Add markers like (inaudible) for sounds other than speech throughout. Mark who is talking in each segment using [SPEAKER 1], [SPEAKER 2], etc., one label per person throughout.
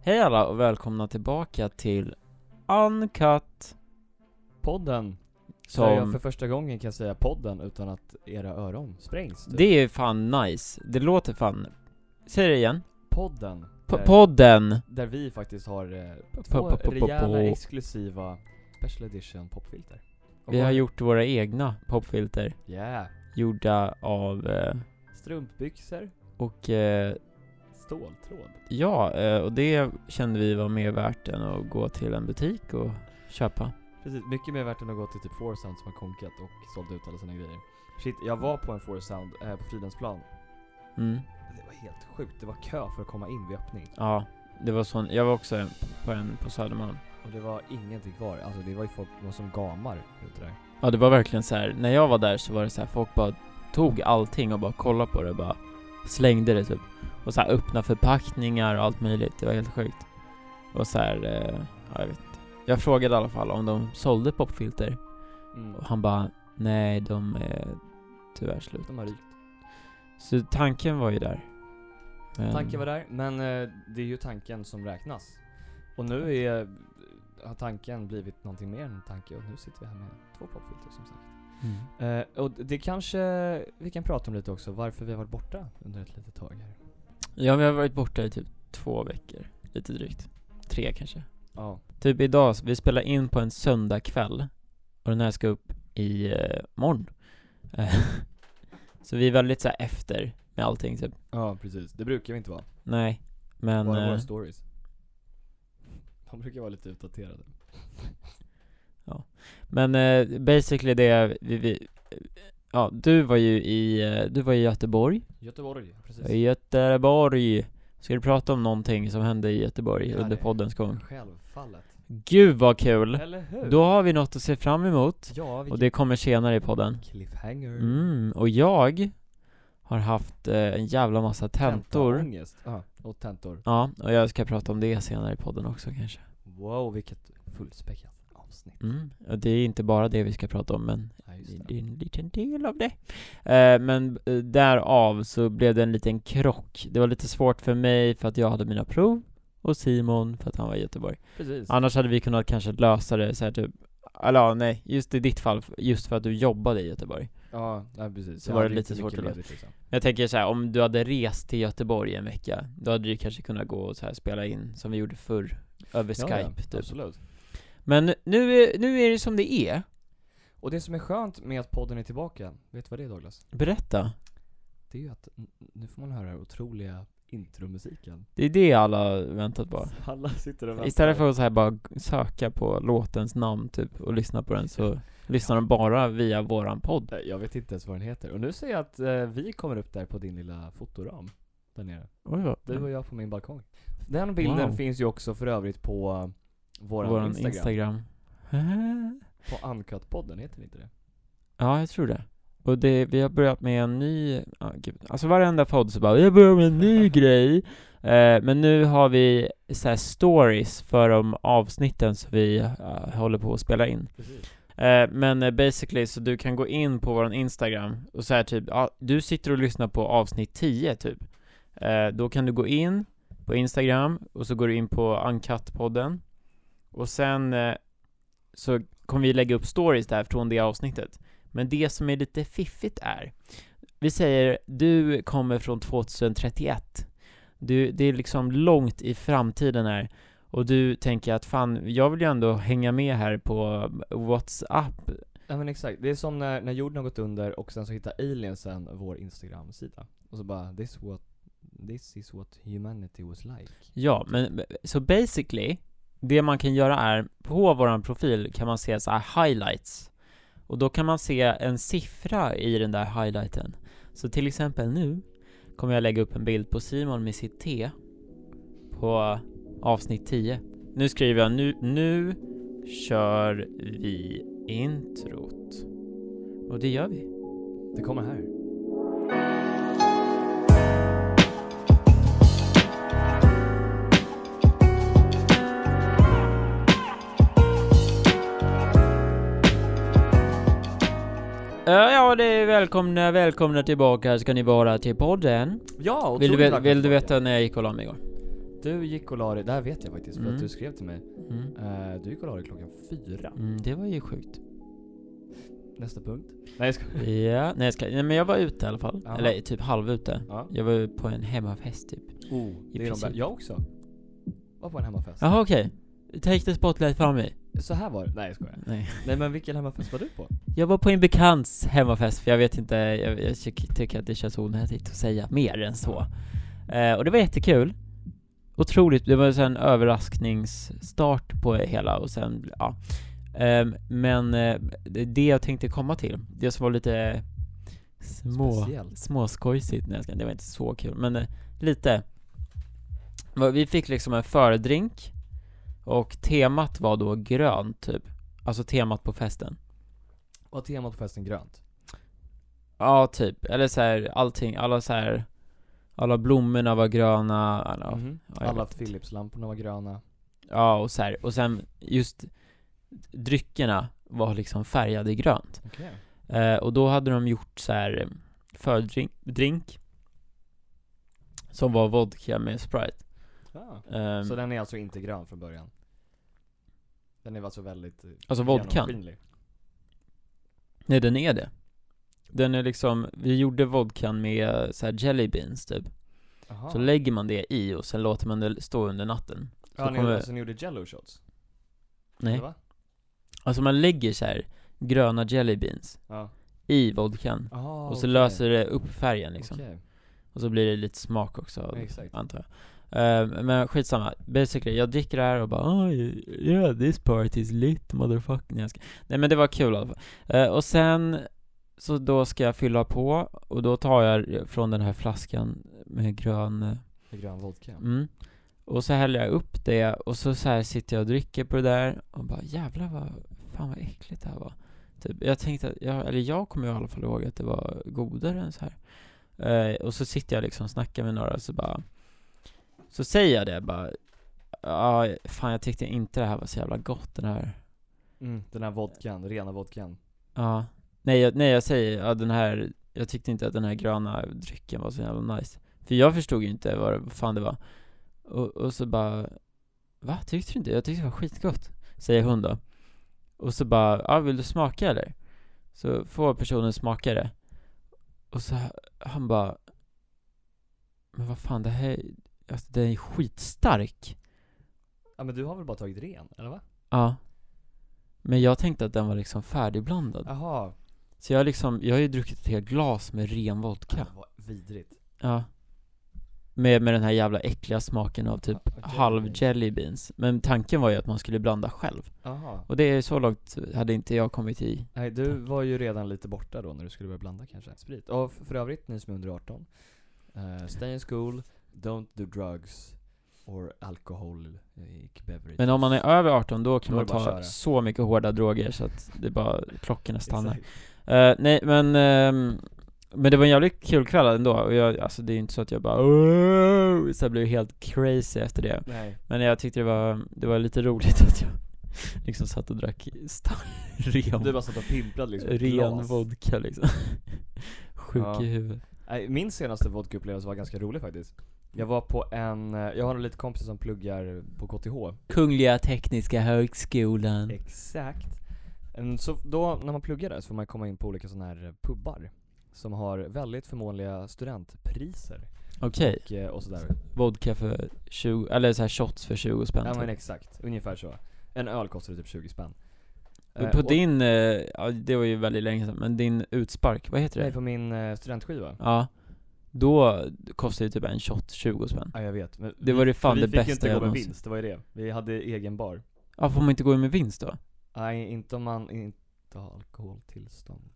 [SPEAKER 1] Hej alla och välkomna tillbaka till Uncut
[SPEAKER 2] Podden. Som... jag för
[SPEAKER 1] som,
[SPEAKER 2] första gången kan säga podden utan att era öron sprängs. typ.
[SPEAKER 1] det är fan nice, det låter fan Säg det igen,
[SPEAKER 2] Podden.
[SPEAKER 1] P-
[SPEAKER 2] där,
[SPEAKER 1] podden!
[SPEAKER 2] där vi faktiskt har eh, två
[SPEAKER 1] po- po- po- po.
[SPEAKER 2] rejäla exklusiva special edition popfilter. Och
[SPEAKER 1] Vi har
[SPEAKER 2] vår-
[SPEAKER 1] gjort våra egna popfilter,
[SPEAKER 2] Yeah.
[SPEAKER 1] gjorda av, eh,
[SPEAKER 2] Strumpbyxor,
[SPEAKER 1] och eh,
[SPEAKER 2] ståltråd.
[SPEAKER 1] ja, eh, och det kände vi var mer värt än att gå till en butik och köpa
[SPEAKER 2] Precis, mycket mer värt än att gå till typ Foursound som har konkat och sålt ut alla sina grejer. Shit, jag var på en Foursound eh, på Fridhemsplan.
[SPEAKER 1] mm.
[SPEAKER 2] Det var helt sjukt, det var kö för att komma in vid öppning.
[SPEAKER 1] Ja, det var sån, jag var också en- på en på Södermalm
[SPEAKER 2] Och det var ingenting kvar. Alltså det var ju folk det var som gamar ute där.
[SPEAKER 1] Ja det var verkligen så här. när jag var där så var det så här, folk bara tog allting och bara kollade på det och bara slängde det typ. Och så här öppna förpackningar och allt möjligt, det var helt sjukt. Och så här, eh, ja jag vet inte. Jag frågade i alla fall om de sålde popfilter
[SPEAKER 2] Mm.
[SPEAKER 1] och han bara nej de är tyvärr slut.
[SPEAKER 2] De har rykt.
[SPEAKER 1] Så tanken var ju där. Men-
[SPEAKER 2] Tanken var där, men eh, det är ju tanken som räknas. Och nu är, har tanken blivit någonting mer än en tanke och nu sitter vi här med två popfilter som sagt.
[SPEAKER 1] Mm.
[SPEAKER 2] Eh, och det kanske vi kan prata om lite också, varför vi har varit borta under ett litet tag här.
[SPEAKER 1] Ja vi har varit borta i typ två veckor, lite drygt. Tre kanske.
[SPEAKER 2] Ja,
[SPEAKER 1] Typ idag, vi spelar in på en söndagkväll och den här ska upp i eh, morgon. (laughs) Eh, så vi är väldigt så här efter med allting typ.
[SPEAKER 2] ja precis. Det brukar vi inte vara.
[SPEAKER 1] Nej, men
[SPEAKER 2] Bara våra
[SPEAKER 1] eh,
[SPEAKER 2] stories. De brukar vara lite utdaterade.
[SPEAKER 1] men eh, basically det vi, vi ja du var ju i eh, du var i Göteborg.
[SPEAKER 2] Göteborg, precis.
[SPEAKER 1] Jag är I Göteborg. Ska du prata om någonting som hände i Göteborg
[SPEAKER 2] Ja,
[SPEAKER 1] under
[SPEAKER 2] det-
[SPEAKER 1] poddens gång?
[SPEAKER 2] Självfallet.
[SPEAKER 1] Gud vad kul!
[SPEAKER 2] Eller hur?
[SPEAKER 1] Då har vi något att se fram emot
[SPEAKER 2] ja,
[SPEAKER 1] och
[SPEAKER 2] vilken
[SPEAKER 1] det kommer senare i podden.
[SPEAKER 2] cliffhanger.
[SPEAKER 1] Mm, och jag har haft eh, en jävla massa tentor.
[SPEAKER 2] Tentaångest. Ja, och tentor.
[SPEAKER 1] Ja, och jag ska prata om det senare i podden också kanske.
[SPEAKER 2] Wow, vilket fullspäckat avsnitt.
[SPEAKER 1] Mm. Och det är inte bara det vi ska prata om, men
[SPEAKER 2] Ja, just
[SPEAKER 1] det
[SPEAKER 2] det.
[SPEAKER 1] är en liten del av det. Eh, men eh, därav så blev det en liten krock. Det var lite svårt för mig för att jag hade mina prov och Simon för att han var i Göteborg.
[SPEAKER 2] Precis.
[SPEAKER 1] Annars hade vi kunnat kanske lösa det så här typ, eller ja, nej, just i ditt fall, just för att du jobbade i Göteborg.
[SPEAKER 2] Ja, ja precis.
[SPEAKER 1] Så
[SPEAKER 2] Jag
[SPEAKER 1] var det
[SPEAKER 2] hade
[SPEAKER 1] lite
[SPEAKER 2] inte
[SPEAKER 1] svårt
[SPEAKER 2] mycket
[SPEAKER 1] att lösa.
[SPEAKER 2] ledigt, liksom.
[SPEAKER 1] Jag tänker så här, om du hade rest till Göteborg en vecka, då hade du kanske kunnat gå och så här spela in som vi gjorde förr, över
[SPEAKER 2] ja, alltså.
[SPEAKER 1] Skype
[SPEAKER 2] ja,
[SPEAKER 1] typ.
[SPEAKER 2] Absolut.
[SPEAKER 1] Men nu, är- nu är det som det är.
[SPEAKER 2] Och det som är skönt med att podden är tillbaka, vet du vad det är Douglas?
[SPEAKER 1] Berätta.
[SPEAKER 2] Det är ju att n- nu får man höra den här otroliga intromusiken.
[SPEAKER 1] Det är det alla har väntat på.
[SPEAKER 2] (laughs) Alla sitter och väntar.
[SPEAKER 1] Istället för att så här bara g- söka på låtens namn typ och lyssna på den så lyssnar de bara via våran podd.
[SPEAKER 2] Nej, Jag vet inte ens vad den heter. Och nu ser jag att eh, vi kommer upp där på din lilla fotoram. Där nere.
[SPEAKER 1] Oj, vad-
[SPEAKER 2] Du och jag på min balkong. Den bilden
[SPEAKER 1] Mm. Wow.
[SPEAKER 2] finns ju också för övrigt på eh, våran,
[SPEAKER 1] Våran
[SPEAKER 2] Instagram.
[SPEAKER 1] Instagram. (laughs)
[SPEAKER 2] På Uncut-podden, heter den inte det?
[SPEAKER 1] ja, jag tror det. Och det, vi har börjat med en ny, ja, gud. alltså varenda podd så bara 'Jag börjar med en ny grej' eh, Men nu har vi så här stories för de avsnitten som vi eh, håller på att spela in
[SPEAKER 2] Precis.
[SPEAKER 1] Eh, men eh, basically, så du kan gå in på våran Instagram och så här typ, ja, du sitter och lyssnar på avsnitt 10 typ. Eh, då kan du gå in på Instagram och så går du in på Uncut-podden. Och sen eh, så kommer vi lägga upp stories där från det avsnittet. Men det som är lite fiffigt är, vi säger du kommer från 2031. Du, det är liksom långt i framtiden här. Och du tänker att fan, jag vill ju ändå hänga med här på WhatsApp.
[SPEAKER 2] Ja men exakt, det är som när, när jorden har gått under och sen så hittar aliensen vår instagram-sida Och så bara this, what, this is what humanity was like
[SPEAKER 1] Ja, men så basically, det man kan göra är, på våran profil kan man se så här highlights. Och då kan man se en siffra i den där highlighten. Så till exempel nu kommer jag lägga upp en bild på Simon med sitt T på avsnitt 10. Nu skriver jag nu, nu kör vi introt. Och det gör vi.
[SPEAKER 2] Det kommer här
[SPEAKER 1] Ja, Eh, ja, det är välkomna, välkomna tillbaka ska ni vara till podden.
[SPEAKER 2] Ja,
[SPEAKER 1] Vill du,
[SPEAKER 2] otroligt
[SPEAKER 1] ve-
[SPEAKER 2] välkommen
[SPEAKER 1] vill du
[SPEAKER 2] tillbaka.
[SPEAKER 1] veta när jag gick och la mig igår?
[SPEAKER 2] Du gick och la dig, det här vet jag faktiskt för
[SPEAKER 1] Mm.
[SPEAKER 2] att du skrev till mig.
[SPEAKER 1] Mm.
[SPEAKER 2] Eh, du gick och la dig klockan fyra.
[SPEAKER 1] Mm, det var ju sjukt.
[SPEAKER 2] Nästa punkt. Nej jag skojar.
[SPEAKER 1] Ja, nej, jag ska, nej men jag var ute i alla fall.
[SPEAKER 2] Ja.
[SPEAKER 1] Eller typ halvute.
[SPEAKER 2] (laughs) Ja.
[SPEAKER 1] Jag var ju på en hemmafest typ.
[SPEAKER 2] Oh, det är de
[SPEAKER 1] princip.
[SPEAKER 2] bä- jag också. Var på en hemmafest.
[SPEAKER 1] Jaha okej. Take the spotlight från mig.
[SPEAKER 2] Så här var det. Nej jag skojar.
[SPEAKER 1] Nej.
[SPEAKER 2] Nej men vilken hemmafest var du på?
[SPEAKER 1] Jag var på en bekants hemmafest för jag vet inte, jag, jag tycker tycker att det känns onödigt att säga mer än så. Eh, och det var jättekul. Otroligt, det var så här en överraskningsstart på det hela och sen, ja. Ehm, men eh, det- det jag tänkte komma till, det som var lite små,
[SPEAKER 2] Speciellt.
[SPEAKER 1] småskojsigt, nej jag ska- det var inte så kul, men eh, lite. Vad- Vi fick liksom en fördrink och temat var då grönt typ. Alltså temat på festen.
[SPEAKER 2] Var temat på festen grönt?
[SPEAKER 1] Ja, typ. Eller så här, allting, alla så här, alla blommorna var gröna, alla,
[SPEAKER 2] Mhm.
[SPEAKER 1] ja, jag
[SPEAKER 2] Alla
[SPEAKER 1] vet inte.
[SPEAKER 2] Philips-lamporna var gröna.
[SPEAKER 1] ja och så här, och sen just dryckerna var liksom färgade i grönt.
[SPEAKER 2] Okej.
[SPEAKER 1] Eh, och då hade de gjort så här eh, fördrink, drink, som var vodka med Sprite.
[SPEAKER 2] Ah.
[SPEAKER 1] Ehm,
[SPEAKER 2] Så den är alltså inte grön från början? Den är alltså väldigt eh,
[SPEAKER 1] alltså vodkan.
[SPEAKER 2] genomskinlig.
[SPEAKER 1] Nej, den är det. Den är liksom, vi gjorde vodkan med eh, så här jelly beans typ.
[SPEAKER 2] Aha.
[SPEAKER 1] Så lägger man det i och sen låter man det stå under natten. Så
[SPEAKER 2] ja, ni,
[SPEAKER 1] kommer-
[SPEAKER 2] Så ni gjorde jello shots?
[SPEAKER 1] Nej.
[SPEAKER 2] Eller va?
[SPEAKER 1] Alltså man lägger så här gröna jelly beans
[SPEAKER 2] Ja.
[SPEAKER 1] i vodkan
[SPEAKER 2] Ah,
[SPEAKER 1] och så
[SPEAKER 2] okej.
[SPEAKER 1] löser det upp färgen liksom.
[SPEAKER 2] Okej.
[SPEAKER 1] Och så blir det lite smak också, av det,
[SPEAKER 2] Exakt.
[SPEAKER 1] antar jag. Eh, men skitsamma, basically, jag dricker det här och bara oh, yeah, this part is lit motherfucking. Nej, jag ska- Nej men det var kul i alla fall. Eh, och sen, så då ska jag fylla på och då tar jag från den här flaskan med grön eh,
[SPEAKER 2] Med grön vodka.
[SPEAKER 1] Mm. Och så häller jag upp det och så, så här sitter jag och dricker på det där och bara jävlar vad, fan vad äckligt det här var. Typ, jag tänkte, att jag, eller jag kommer i alla fall ihåg att det var godare än så här. Eh, och så sitter jag liksom och snackar med några så bara, så säger jag det bara, ja fan jag tyckte inte det här var så jävla gott den här,
[SPEAKER 2] Mm. Den här vodkan, rena vodkan.
[SPEAKER 1] ja. nej, jag, nej jag säger, ja den här, jag tyckte inte att den här gröna drycken var så jävla nice. För jag förstod ju inte vad, det- vad fan det var. Och, och så bara, va? Tyckte du inte? Jag tyckte det var skitgott. Säger hon då. Och så bara, ja vill du smaka eller? Så får personen smaka det. Och så han bara, men vad fan det här, alltså den är skitstark.
[SPEAKER 2] Ja men du har väl bara tagit ren, eller va?
[SPEAKER 1] Ja. Men jag tänkte att den var liksom färdigblandad.
[SPEAKER 2] Jaha.
[SPEAKER 1] Så jag har liksom, jag har ju druckit ett helt glas med ren vodka.
[SPEAKER 2] Vad vidrigt.
[SPEAKER 1] Ja. Med, med den här jävla äckliga smaken av typ
[SPEAKER 2] Ja, okej,
[SPEAKER 1] halv
[SPEAKER 2] okej.
[SPEAKER 1] jelly beans. Men tanken var ju att man skulle blanda själv.
[SPEAKER 2] Jaha.
[SPEAKER 1] Och det är så långt hade inte jag kommit i.
[SPEAKER 2] Nej, du var ju redan lite borta då när du skulle börja blanda kanske. Sprit. Och f- för övrigt, ni som är under 18. eh, stay in school, don't do drugs or alcohol eh, beverages.
[SPEAKER 1] Men om man är över 18 då kan
[SPEAKER 2] Då är
[SPEAKER 1] man
[SPEAKER 2] det bara att
[SPEAKER 1] ta
[SPEAKER 2] köra.
[SPEAKER 1] så mycket hårda droger så att det bara, klockorna stannar.
[SPEAKER 2] Exakt.
[SPEAKER 1] Eh, nej men, ehm, men det var en jävligt kul kväll ändå. Och jag, alltså det är ju inte så att jag bara "Åh!" så jag blev helt crazy efter det.
[SPEAKER 2] Nej.
[SPEAKER 1] Men jag tyckte det var, det var lite roligt (laughs) att jag liksom satt och drack stark, ren,
[SPEAKER 2] Du bara satt och pimplade liksom ett
[SPEAKER 1] ren
[SPEAKER 2] glas.
[SPEAKER 1] vodka liksom. (laughs) Sjuk
[SPEAKER 2] Ja.
[SPEAKER 1] i huvudet.
[SPEAKER 2] Nej, min senaste vodkaupplevelse var ganska rolig faktiskt. Jag var på en, eh, jag har lite kompisar som pluggar på KTH.
[SPEAKER 1] Kungliga Tekniska Högskolan.
[SPEAKER 2] Exakt. Mm, Så då, när man pluggar där så får man komma in på olika sådana här eh, pubbar. Som har väldigt förmånliga studentpriser.
[SPEAKER 1] Okej,
[SPEAKER 2] Och, eh, och sådär.
[SPEAKER 1] vodka för 20, eller så här shots för 20 spänn.
[SPEAKER 2] Ja men
[SPEAKER 1] typ.
[SPEAKER 2] exakt, ungefär så. En öl kostade typ 20 spänn. Eh,
[SPEAKER 1] Men på
[SPEAKER 2] och-
[SPEAKER 1] din, eh, ja, det var ju väldigt länge sedan, men din utspark, vad heter det?
[SPEAKER 2] Nej, på min eh, studentskiva.
[SPEAKER 1] Ja. Då kostade ju typ en shot 20 spänn.
[SPEAKER 2] Ja jag vet. Men
[SPEAKER 1] Det var det fan
[SPEAKER 2] vi
[SPEAKER 1] det
[SPEAKER 2] fick ju
[SPEAKER 1] bästa
[SPEAKER 2] inte
[SPEAKER 1] jag
[SPEAKER 2] gå med
[SPEAKER 1] någonsin-
[SPEAKER 2] vinst, det var ju det. Vi hade egen bar.
[SPEAKER 1] Ja, får man inte gå in med vinst då?
[SPEAKER 2] Nej, inte om man inte har alkoholtillstånd.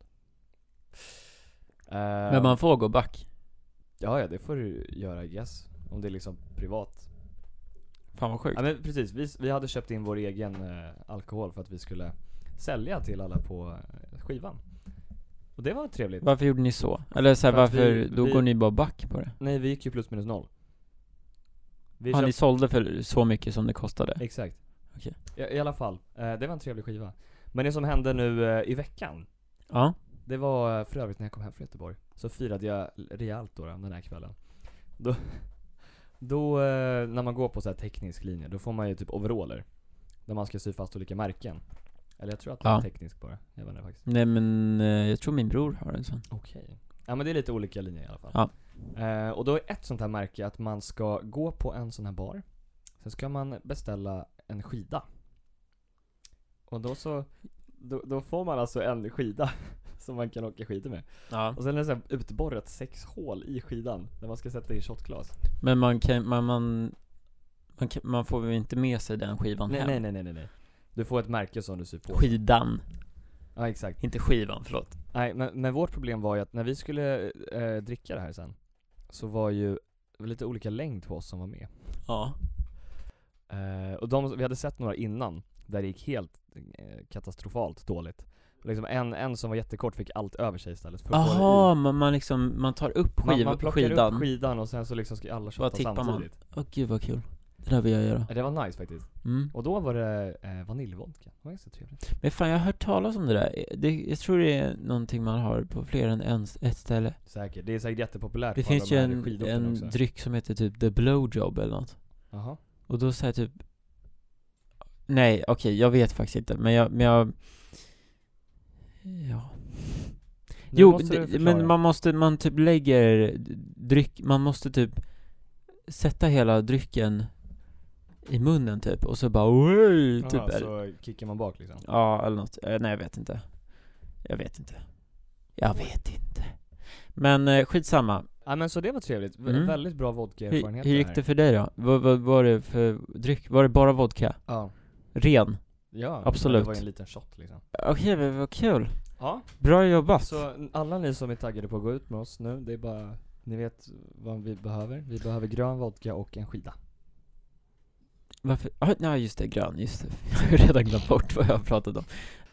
[SPEAKER 2] Eh,
[SPEAKER 1] Men man får gå back.
[SPEAKER 2] Ja, ja det får du göra I guess. Om det är liksom privat.
[SPEAKER 1] Fan vad sjukt.
[SPEAKER 2] Ja men precis, vi, vi hade köpt in vår egen eh, alkohol för att vi skulle sälja till alla på eh, skivan. Och det var trevligt.
[SPEAKER 1] Varför gjorde ni så? Eller så här,
[SPEAKER 2] För att
[SPEAKER 1] varför,
[SPEAKER 2] vi-
[SPEAKER 1] då
[SPEAKER 2] vi-
[SPEAKER 1] går ni bara back på det?
[SPEAKER 2] Nej, vi gick ju plus minus noll. Vi
[SPEAKER 1] Ja, ni
[SPEAKER 2] köpte-
[SPEAKER 1] sålde för så mycket som det kostade?
[SPEAKER 2] Exakt.
[SPEAKER 1] Okej.
[SPEAKER 2] I, I alla fall, eh, det var en trevlig skiva. Men det som hände nu eh, i veckan,
[SPEAKER 1] Ja.
[SPEAKER 2] det var eh, för övrigt när jag kom hem från Göteborg. Så firade jag rejält då, då den här kvällen. Då, (laughs) Då, eh, när man går på så här teknisk linje, då får man ju typ overaller. Där man ska sy fast olika märken. Eller jag tror att det
[SPEAKER 1] Ja.
[SPEAKER 2] är teknisk bara. Jag vet inte faktiskt.
[SPEAKER 1] Nej men, eh, jag tror min bror har en sån.
[SPEAKER 2] Okej. Ja men det är lite olika linjer i alla fall.
[SPEAKER 1] Ja.
[SPEAKER 2] Eh, och då är ett sånt här märke att man ska gå på en sån här bar. Sen ska man beställa en skida. Och då så, då, då får man alltså en skida (laughs) som man kan åka skidor med.
[SPEAKER 1] Ja.
[SPEAKER 2] Och sen är det så här utborrat sex hål i skidan där man ska sätta in shotglas.
[SPEAKER 1] Men man kan, man, man, man, kan, man får väl inte med sig den skivan
[SPEAKER 2] Nej,
[SPEAKER 1] hem?
[SPEAKER 2] nej, nej, nej, nej, nej. Du får ett märke som du syr på.
[SPEAKER 1] Skidan,
[SPEAKER 2] Ja, exakt.
[SPEAKER 1] inte skivan, förlåt.
[SPEAKER 2] Nej, men, men vårt problem var ju att när vi skulle eh, dricka det här sen, så var ju lite olika längd på oss som var med.
[SPEAKER 1] Ja.
[SPEAKER 2] Eh, och de, vi hade sett några innan, där det gick helt eh, katastrofalt dåligt. Liksom en, en som var jättekort fick allt över sig istället. För att gå
[SPEAKER 1] Jaha, man, man liksom, man tar upp
[SPEAKER 2] i- man,
[SPEAKER 1] skiv,
[SPEAKER 2] man plockar
[SPEAKER 1] skidan.
[SPEAKER 2] upp skidan och sen så liksom ska alla
[SPEAKER 1] Bara
[SPEAKER 2] shotta
[SPEAKER 1] tippar man.
[SPEAKER 2] samtidigt.
[SPEAKER 1] Åh gud vad kul. Det där vill jag göra.
[SPEAKER 2] Ja, Det var nice faktiskt.
[SPEAKER 1] Mm.
[SPEAKER 2] Och då var det eh, vaniljvodka. Det var ganska trevligt.
[SPEAKER 1] Men fan jag har hört talas om det där. Det, jag tror det är någonting man har på fler än en, ett ställe.
[SPEAKER 2] Säkert. Det är säkert jättepopulärt
[SPEAKER 1] Det
[SPEAKER 2] på
[SPEAKER 1] finns
[SPEAKER 2] alla
[SPEAKER 1] ju
[SPEAKER 2] de här
[SPEAKER 1] en,
[SPEAKER 2] skidorterna
[SPEAKER 1] en
[SPEAKER 2] också.
[SPEAKER 1] dryck som heter typ the blowjob eller något.
[SPEAKER 2] Jaha.
[SPEAKER 1] Och då säger typ Nej, okej, jag vet faktiskt inte, men jag, men jag Ja
[SPEAKER 2] Nu
[SPEAKER 1] Jo,
[SPEAKER 2] måste du
[SPEAKER 1] det-
[SPEAKER 2] förklara.
[SPEAKER 1] men man måste, man typ lägger dryck, man måste typ sätta hela drycken i munnen typ, och så bara Oj,
[SPEAKER 2] Jaha,
[SPEAKER 1] typ eller-
[SPEAKER 2] så kickar man bak liksom.
[SPEAKER 1] Ja, eller något. Eh, Nej, jag vet inte. Jag vet inte. Jag vet inte. Men eh, skitsamma.
[SPEAKER 2] Ja men så det var trevligt. V-
[SPEAKER 1] Mm.
[SPEAKER 2] Väldigt bra
[SPEAKER 1] Hur,
[SPEAKER 2] vodkaerfarenhet
[SPEAKER 1] hur gick det för dig då? Vad vad var det för dryck? Var det bara vodka?
[SPEAKER 2] Ja.
[SPEAKER 1] Ren?
[SPEAKER 2] ja.
[SPEAKER 1] Absolut.
[SPEAKER 2] Det var ju en liten shot liksom.
[SPEAKER 1] Okej, men vad kul.
[SPEAKER 2] Ja.
[SPEAKER 1] Bra jobbat.
[SPEAKER 2] Så n- alla ni som är taggade på att gå ut med oss nu, det är bara, ni vet vad vi behöver. Vi behöver grön vodka och en skida.
[SPEAKER 1] Varför? Ah, nej, just det, grön. Just det. (laughs) Jag har ju redan glömt bort vad jag har pratat om.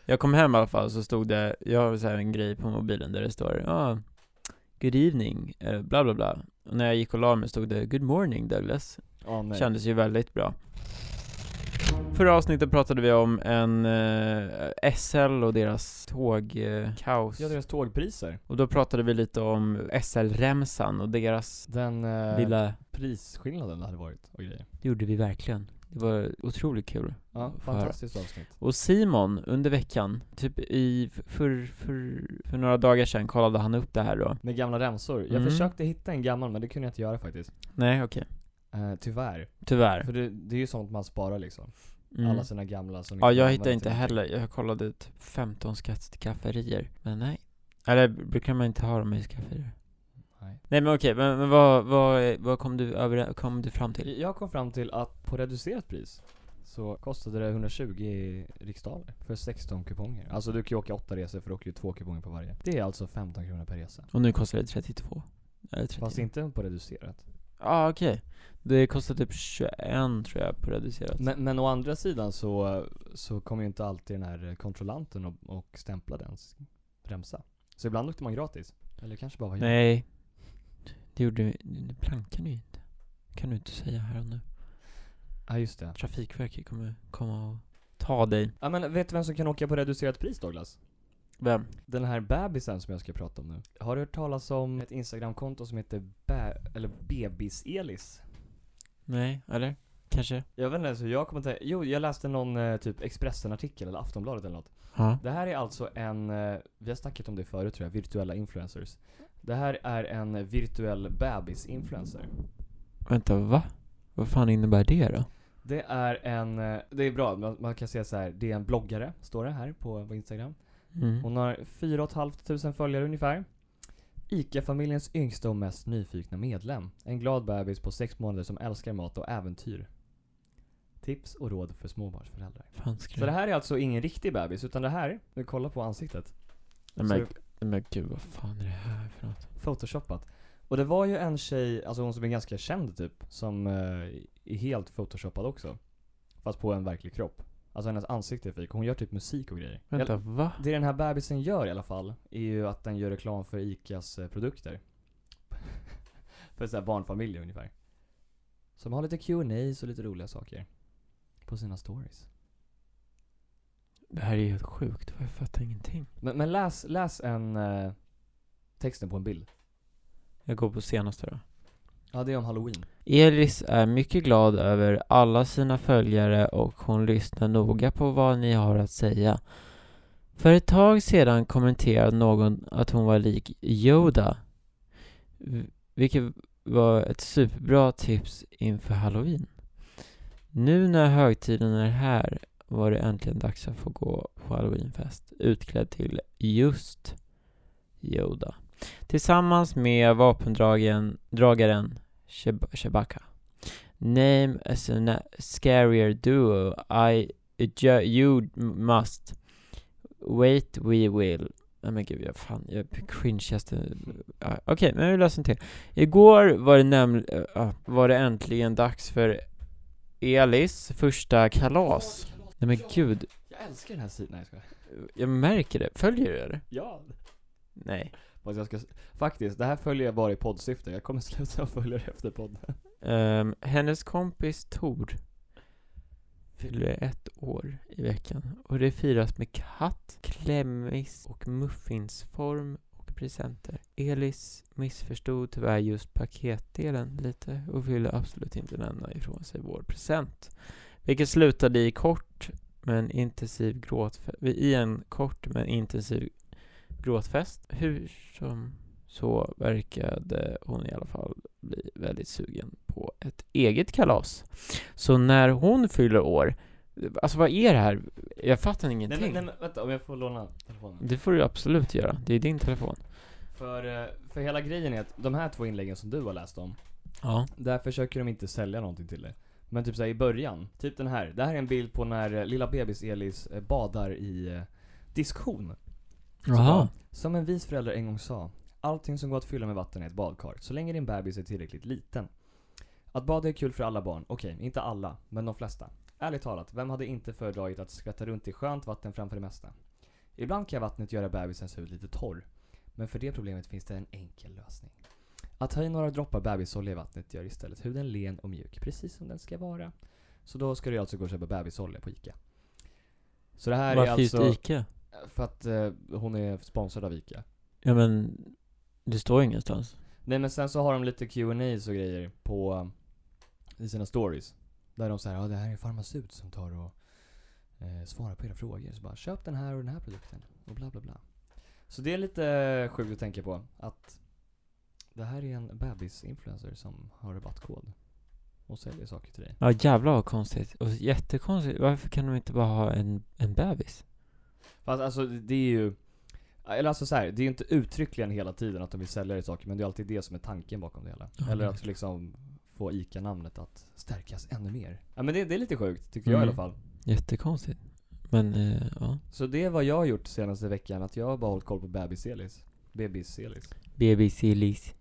[SPEAKER 1] Jag kom hem i alla fall så stod det, jag har så här en grej på mobilen där det står ah, Good evening, eh, bla bla bla. Och när jag gick och la mig stod det Good morning Douglas.
[SPEAKER 2] Ja, nej.
[SPEAKER 1] Kändes ju väldigt bra. Förra avsnittet pratade vi om en eh, SL och deras tågkaos. Eh, kaos.
[SPEAKER 2] Ja, deras tågpriser.
[SPEAKER 1] och då pratade vi lite om SL-remsan och deras
[SPEAKER 2] Den eh,
[SPEAKER 1] lilla...
[SPEAKER 2] prisskillnaden det hade varit och grejer.
[SPEAKER 1] Det gjorde vi verkligen. Det var otroligt kul.
[SPEAKER 2] Ja,
[SPEAKER 1] Få höra.
[SPEAKER 2] fantastiskt avsnitt.
[SPEAKER 1] Och Simon, under veckan, typ i, för, för, för några dagar sedan kollade han upp det här då.
[SPEAKER 2] Med gamla remsor. Jag
[SPEAKER 1] Mm.
[SPEAKER 2] försökte hitta en gammal men det kunde jag inte göra faktiskt.
[SPEAKER 1] Nej, okej.
[SPEAKER 2] Eh, tyvärr.
[SPEAKER 1] Tyvärr.
[SPEAKER 2] För det, det är ju sånt man sparar liksom.
[SPEAKER 1] Mm.
[SPEAKER 2] Alla sina gamla som
[SPEAKER 1] Ja,
[SPEAKER 2] inte
[SPEAKER 1] jag
[SPEAKER 2] använder
[SPEAKER 1] hittade inte
[SPEAKER 2] till någonting.
[SPEAKER 1] heller. Jag kollade typ 15 skattekafferier, men nej. Eller brukar man inte ha dem i skafferier?
[SPEAKER 2] Nej.
[SPEAKER 1] Nej men okej, men, men vad, vad, vad kom, du över, kom du fram till?
[SPEAKER 2] Jag kom fram till att på reducerat pris så kostade det 120 riksdaler för 16 kuponger. Alltså du kan ju åka 8 resor för du åker ju 2 kuponger på varje. Det är alltså 15 kronor per resa.
[SPEAKER 1] Och nu kostar det 32. Eller 30.
[SPEAKER 2] Fast
[SPEAKER 1] Ja
[SPEAKER 2] inte på reducerat.
[SPEAKER 1] ah, okej. Det kostar typ 21 tror jag på reducerat.
[SPEAKER 2] Men, men å andra sidan så, så kommer ju inte alltid den här kontrollanten och, och stämpla dens bremsa. Så ibland åkte man gratis. Eller kanske bara var jag.
[SPEAKER 1] Nej. Det gjorde vi, det plankar ni ju inte. Kan du inte säga här och nu.
[SPEAKER 2] Ja just det.
[SPEAKER 1] Trafikverket kommer komma och ta dig.
[SPEAKER 2] Ja men vet du vem som kan åka på reducerat pris Douglas?
[SPEAKER 1] Vem?
[SPEAKER 2] Den här bebisen som jag ska prata om nu. Har du hört talas om ett instagramkonto som heter Bä- eller Bebis-Elis?
[SPEAKER 1] Nej, eller? Kanske?
[SPEAKER 2] Jag vet inte ens hur jag kommer till... Jo, jag läste någon eh, typ Expressen-artikel eller Aftonbladet eller något.
[SPEAKER 1] Ja.
[SPEAKER 2] Det här är alltså en, eh, vi har snackat om det förut tror jag, virtuella influencers. Det här är en virtuell bebis-influencer.
[SPEAKER 1] Vänta, va? Vad fan innebär det då?
[SPEAKER 2] Det är en, eh, det är bra, man, man kan säga så här, det är en bloggare, står det här på, på Instagram.
[SPEAKER 1] Mm.
[SPEAKER 2] Hon har 4 500 följare ungefär. ICA-familjens yngsta och mest nyfikna medlem. En glad bebis på 6 månader som älskar mat och äventyr. Tips och råd för småbarnsföräldrar.
[SPEAKER 1] Fan ska
[SPEAKER 2] Så det här är alltså ingen riktig bebis, utan det här, nu kolla på ansiktet.
[SPEAKER 1] Nej,
[SPEAKER 2] Så
[SPEAKER 1] men,
[SPEAKER 2] det
[SPEAKER 1] nej, men gud, vad fan är det här för något?
[SPEAKER 2] är photoshoppat. Och det var ju en tjej, alltså hon som är ganska känd typ, som eh, är helt photoshoppad också. Fast på en verklig kropp. Alltså hennes ansikte är fake, hon gör typ musik och grejer.
[SPEAKER 1] Vänta, va?
[SPEAKER 2] Det den här bebisen gör i alla fall, är ju att den gör reklam för ICAs eh, produkter. (laughs) för såhär barnfamiljer ungefär. Som har lite Q&As och lite roliga saker. På sina stories.
[SPEAKER 1] Det här är ju helt sjukt, jag fattar ingenting.
[SPEAKER 2] Men, men läs, läs en... Eh, texten på en bild.
[SPEAKER 1] Jag går på senaste då.
[SPEAKER 2] Ja, det är om halloween.
[SPEAKER 1] Elis är mycket glad över alla sina följare och hon lyssnar noga på vad ni har att säga. För ett tag sedan kommenterade någon att hon var lik Yoda, v- vilket var ett superbra tips inför halloween. Nu när högtiden är här var det äntligen dags att få gå på halloweenfest utklädd till just Yoda. Tillsammans med vapendragen, dragaren Cheb- Chewbacca. Name as a na- scarier duo. I ju- you must. Wait we will. Nej men gud, jag fan, jag cringeaste... Ja, Okej, men vi löser en till. Igår var det nämligen, var det äntligen dags för Elis första kalas. Nej men gud,
[SPEAKER 2] Jag älskar den här sidan. Nej, jag skojar.
[SPEAKER 1] jag märker det. Följer du eller?
[SPEAKER 2] Ja.
[SPEAKER 1] Nej.
[SPEAKER 2] Fast jag ska, faktiskt, det här följer jag bara i poddsyfte. Jag kommer (laughs) sluta följa det efter podden.
[SPEAKER 1] Ehm, hennes kompis Tor fyller ett år i veckan och det firas med katt, klämmis och muffinsform och presenter. Elis missförstod tyvärr just paketdelen lite och ville absolut inte lämna ifrån sig vår present. Vilket slutade i kort men intensiv gråtfest, i en kort men intensiv gråtfest. Hur som så verkade hon i alla fall bli väldigt sugen på ett eget kalas. Så när hon fyller år, alltså vad är det här? Jag fattar ingenting.
[SPEAKER 2] Nej, men vänta, om jag får låna telefonen.
[SPEAKER 1] Det får du absolut göra, det är din telefon.
[SPEAKER 2] För, eh, för hela grejen är att de här två inläggen som du har läst om,
[SPEAKER 1] Ja.
[SPEAKER 2] där försöker de inte sälja någonting till dig. Men typ såhär i början, typ den här. Det här är en bild på när eh, lilla bebis-Elis eh, badar i eh, diskhon. Så
[SPEAKER 1] Jaha.
[SPEAKER 2] bara, Som en vis förälder en gång sa, allting som går att fylla med vatten är ett badkar, så länge din bebis är tillräckligt liten. Att bada är kul för alla barn, okej, inte alla, men de flesta. Ärligt talat, vem hade inte föredragit att skvätta runt i skönt vatten framför det mesta? Ibland kan vattnet göra bebisens hud lite torr, men för det problemet finns det en enkel lösning. Att ta i några droppar bebisolja i vattnet gör istället huden len och mjuk, precis som den ska vara. Så då ska du alltså gå och köpa bebisolja på ICA. Så det här är
[SPEAKER 1] Varför just
[SPEAKER 2] alltså...
[SPEAKER 1] Ica?
[SPEAKER 2] För att eh, hon är sponsrad av ICA.
[SPEAKER 1] Ja men, det står ju ingenstans.
[SPEAKER 2] Nej men sen så har de lite Q&As och grejer på, i sina stories. Där de säger ja det här är farmaceut som tar och eh, svarar på era frågor. Så bara köp den här och den här produkten och bla bla bla. Så det är lite sjukt att tänka på att det här är en bebis-influencer som har rabattkod och säljer saker till dig.
[SPEAKER 1] Ja jävlar vad konstigt. Och jättekonstigt, varför kan de inte bara ha en, en bebis?
[SPEAKER 2] Fast alltså det är ju, eller alltså så här, det är ju inte uttryckligen hela tiden att de vill sälja dig saker men det är alltid det som är tanken bakom det hela.
[SPEAKER 1] Ja,
[SPEAKER 2] eller
[SPEAKER 1] nej.
[SPEAKER 2] att liksom få ICA-namnet att stärkas ännu mer. Ja men det, det är lite sjukt, tycker jag i
[SPEAKER 1] Mm.
[SPEAKER 2] alla fall.
[SPEAKER 1] Jättekonstigt. Men, eh, ja.
[SPEAKER 2] Så det är vad jag har gjort senaste veckan, att jag har bara hållit koll på bebis-Elis. Bebis-Elis.
[SPEAKER 1] Bebis Elis.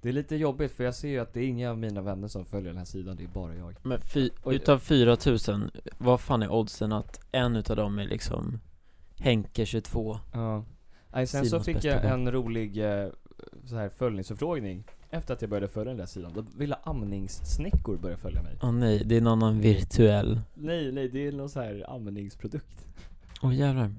[SPEAKER 2] Det är lite jobbigt för jag ser ju att det är inga av mina vänner som följer den här sidan, det är bara jag.
[SPEAKER 1] Men fy,
[SPEAKER 2] Oj.
[SPEAKER 1] utav 4000, vad fan är oddsen att en utav dem är liksom Henke 22?
[SPEAKER 2] Ja. Nej, sen
[SPEAKER 1] Simons
[SPEAKER 2] så fick
[SPEAKER 1] bästa
[SPEAKER 2] jag
[SPEAKER 1] vän.
[SPEAKER 2] en rolig eh, så här följningsförfrågning efter att jag började följa den där sidan. Då ville amningssnickor börja följa mig.
[SPEAKER 1] Åh nej, det är en annan virtuell.
[SPEAKER 2] Nej, nej, det är någon så här amningsprodukt.
[SPEAKER 1] Åh jävlar.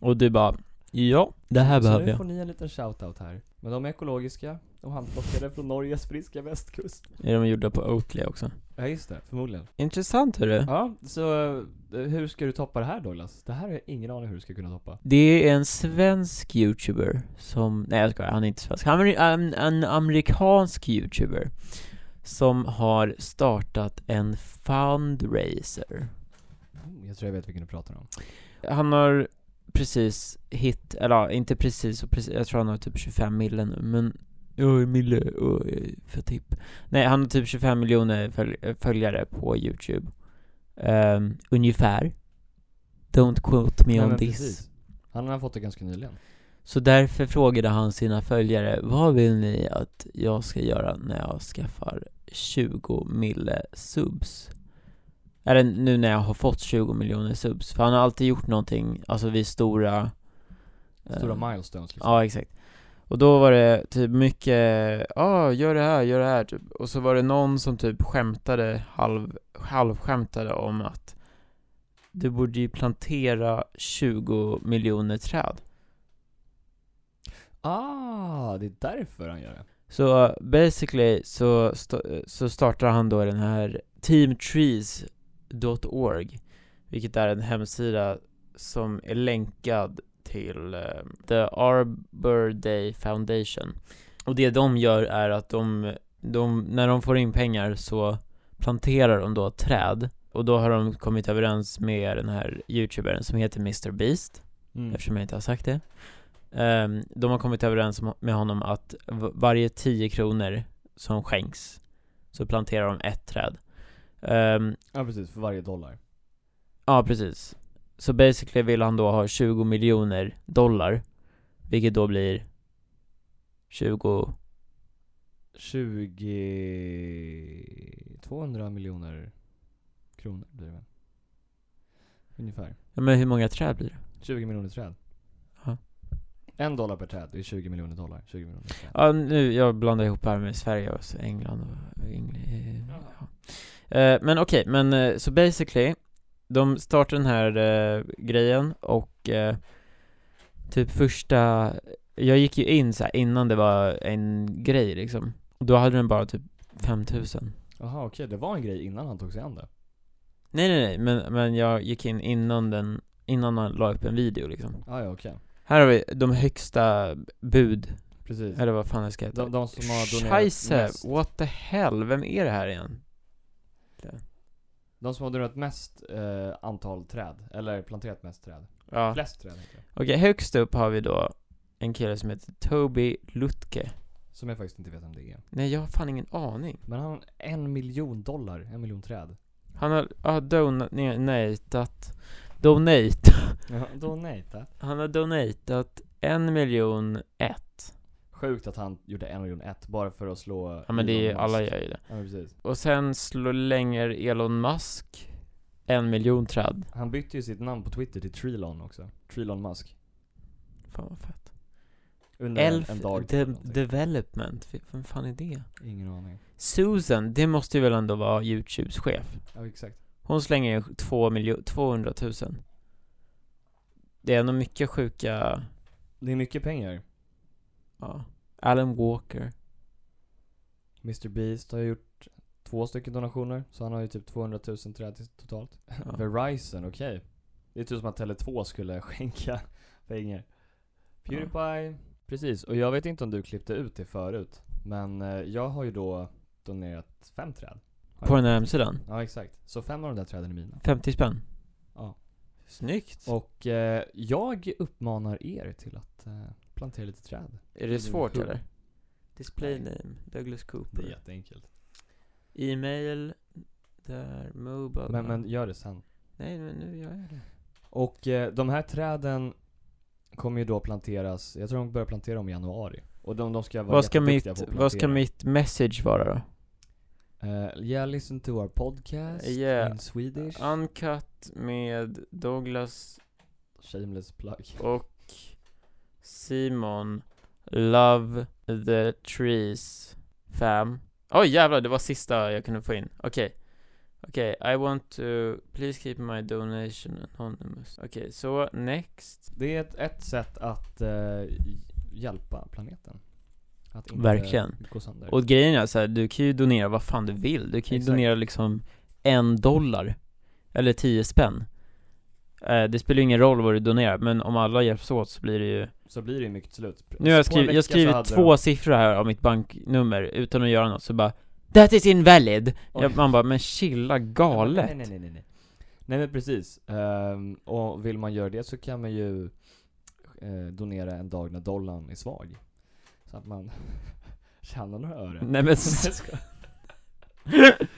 [SPEAKER 1] Och du bara, ja, det här
[SPEAKER 2] så
[SPEAKER 1] behöver
[SPEAKER 2] nu
[SPEAKER 1] jag.
[SPEAKER 2] får ni en liten shoutout här. Men de är ekologiska och handplockade från Norges friska västkust.
[SPEAKER 1] Är de gjorda på Oatly också?
[SPEAKER 2] Ja, just det. Förmodligen.
[SPEAKER 1] Intressant hörru.
[SPEAKER 2] Ja, så eh, hur ska du toppa det här Douglas? Det här har jag ingen aning hur du ska kunna toppa.
[SPEAKER 1] Det är en svensk youtuber som, nej jag skojar, han är inte svensk. Han är en, en amerikansk youtuber som har startat en fundraiser.
[SPEAKER 2] Mm, jag tror jag vet vilken du pratar om.
[SPEAKER 1] Han har precis hit, eller ja, inte precis, och precis, jag tror han har typ 25 mille nu, men Oj, mille, oj, för tipp. Nej, han har typ 25 miljoner följ- följare på YouTube. Ehm, ungefär. Don't quote me on this.
[SPEAKER 2] Han har fått det ganska nyligen.
[SPEAKER 1] Så därför frågade han sina följare, vad vill ni att jag ska göra när jag skaffar 20 mille subs? Eller nu när jag har fått 20 miljoner subs, för han har alltid gjort någonting, alltså vid stora eh,
[SPEAKER 2] Stora milestones liksom.
[SPEAKER 1] Ja, exakt. Och då var det typ mycket, ja, ah, gör det här, gör det här, typ. Och så var det någon som typ skämtade, halv, halvskämtade om att du borde ju plantera 20 miljoner träd.
[SPEAKER 2] Ah, det är därför han gör det.
[SPEAKER 1] Så basically så, sta- så startar han då den här teamtrees.org Vilket är en hemsida som är länkad till eh, The Arbor Day Foundation Och det de gör är att de, de, när de får in pengar så planterar de då träd Och då har de kommit överens med den här youtubern som heter Mr Beast
[SPEAKER 2] Mm.
[SPEAKER 1] eftersom jag inte har sagt det. Ehm, de har kommit överens om- med honom att v- varje 10 kronor som skänks så planterar de ett träd. Ehm,
[SPEAKER 2] Ja precis, för varje dollar.
[SPEAKER 1] ja, precis. Så basically vill han då ha 20 miljoner dollar, vilket då blir 20,
[SPEAKER 2] 20... 200 miljoner kronor blir det väl? Ungefär.
[SPEAKER 1] ja, men hur många träd blir det?
[SPEAKER 2] 20 miljoner träd.
[SPEAKER 1] Ja.
[SPEAKER 2] En dollar per träd, det är 20 miljoner dollar. 20 miljoner träd.
[SPEAKER 1] Ja, nu, jag blandar ihop här med Sverige och så England och England, ja. Eh, Men okej, men eh, så basically, de startar den här eh, grejen och eh, typ första, jag gick ju in så här innan det var en grej liksom, och då hade den bara typ 5000
[SPEAKER 2] Jaha okej, det var en grej innan han tog sig an det.
[SPEAKER 1] Nej nej nej, men, men jag gick in innan den, innan han la upp en video liksom
[SPEAKER 2] Ah, ja okej.
[SPEAKER 1] Här har vi de högsta bud,
[SPEAKER 2] Precis.
[SPEAKER 1] eller vad fan det ska heta
[SPEAKER 2] De, de som har donerat
[SPEAKER 1] Scheisse,
[SPEAKER 2] mest,
[SPEAKER 1] what the hell, vem är det här igen?
[SPEAKER 2] de som har donerat mest eh, antal träd, eller planterat mest träd.
[SPEAKER 1] Ja.
[SPEAKER 2] Flest träd heter det.
[SPEAKER 1] Okej, högst upp har vi då en kille som heter Toby Lutke
[SPEAKER 2] Som jag faktiskt inte vet om det är.
[SPEAKER 1] Nej jag har fan ingen aning
[SPEAKER 2] Men han har en miljon dollar, en miljon träd.
[SPEAKER 1] Han har, ah, donatat Donate
[SPEAKER 2] Ja, eh. donata.
[SPEAKER 1] Han har donatat en miljon ett
[SPEAKER 2] Sjukt att han gjorde en miljon ett bara för att slå
[SPEAKER 1] Ja men det är ju,
[SPEAKER 2] Elon
[SPEAKER 1] alla
[SPEAKER 2] Musk.
[SPEAKER 1] gör ju det
[SPEAKER 2] Ja precis.
[SPEAKER 1] Och sen slänger Elon Musk en miljon träd
[SPEAKER 2] Han bytte ju sitt namn på Twitter till Trilon också. Trilon Musk.
[SPEAKER 1] Fan vad fett
[SPEAKER 2] Under en-
[SPEAKER 1] Elf
[SPEAKER 2] en dag
[SPEAKER 1] de-
[SPEAKER 2] till någonting.
[SPEAKER 1] Development, Fy- vem fan är det?
[SPEAKER 2] Ingen aning.
[SPEAKER 1] Susan, det måste ju väl ändå vara Youtubes chef?
[SPEAKER 2] Ja exakt.
[SPEAKER 1] Hon slänger in 2 miljo- 200 000 Det är ändå mycket sjuka,
[SPEAKER 2] Det är mycket pengar.
[SPEAKER 1] ja Alan Walker
[SPEAKER 2] Mr Beast har gjort två stycken donationer, så han har ju typ 200 000 träd till- totalt.
[SPEAKER 1] ja.
[SPEAKER 2] Verizon, okej. Det är typ som att Tele2 skulle (laughs) skänka pengar. Pewdiepie. Precis, och jag vet inte om du klippte ut det förut. Men eh, jag har ju då donerat fem träd.
[SPEAKER 1] På den här hemsidan,
[SPEAKER 2] Ja, exakt. Så fem av de där träden är mina.
[SPEAKER 1] 50 spänn
[SPEAKER 2] Ja.
[SPEAKER 1] Snyggt!
[SPEAKER 2] Och eh, jag uppmanar er till att eh, plantera lite träd.
[SPEAKER 1] är det svårt
[SPEAKER 2] Hur?
[SPEAKER 1] eller? Display
[SPEAKER 2] Nej.
[SPEAKER 1] name, Douglas
[SPEAKER 2] Det är
[SPEAKER 1] Cooper
[SPEAKER 2] jätteenkelt.
[SPEAKER 1] E-mail, där, mobile
[SPEAKER 2] Men, men gör det sen.
[SPEAKER 1] Nej men nu gör jag det
[SPEAKER 2] Och eh, de här träden kommer ju då planteras, jag tror de börjar plantera om i januari. Och de, de ska vara
[SPEAKER 1] vad ska,
[SPEAKER 2] jätteduktiga
[SPEAKER 1] mitt,
[SPEAKER 2] på att
[SPEAKER 1] vad ska
[SPEAKER 2] plantera.
[SPEAKER 1] mitt message vara då?
[SPEAKER 2] Uh, yeah, listen to our podcast
[SPEAKER 1] Yeah. Um,
[SPEAKER 2] in Swedish.
[SPEAKER 1] Uncut med Douglas
[SPEAKER 2] Shameless plug.
[SPEAKER 1] och Simon Love the Trees Fam Oj jävlar, det var sista jag kunde få in. Okej. Okej, I want to please keep my donation anonymous. Okej, så next.
[SPEAKER 2] Det är ett, ett sätt att eh, hjälpa planeten. Att inte
[SPEAKER 1] Verkligen.
[SPEAKER 2] gå sönder.
[SPEAKER 1] Och grejen är så här, du kan ju donera vad fan du vill. Du kan ju
[SPEAKER 2] Exakt.
[SPEAKER 1] donera liksom en dollar. Eller tio spänn. Eh, det spelar ju ingen roll vad du donerar, men om alla hjälps åt så blir det ju
[SPEAKER 2] så blir det ju mycket till slut.
[SPEAKER 1] Nu har jag
[SPEAKER 2] typ. Alltså, På en
[SPEAKER 1] skrivit, jag har
[SPEAKER 2] vecka så hade
[SPEAKER 1] skrivit två siffror här av mitt banknummer utan att göra något, så bara That is invalid!
[SPEAKER 2] Oj.
[SPEAKER 1] Jag, man bara, men chilla
[SPEAKER 2] de-
[SPEAKER 1] galet!
[SPEAKER 2] Nej, nej, nej, nej, nej. Nej men precis. Ehm, och vill man göra det så kan man ju eh, donera en dag när dollarn är svag. Så att man (laughs) tjänar några öre.
[SPEAKER 1] Nej, men s-
[SPEAKER 2] (laughs) Jag
[SPEAKER 1] (laughs)
[SPEAKER 2] skojar.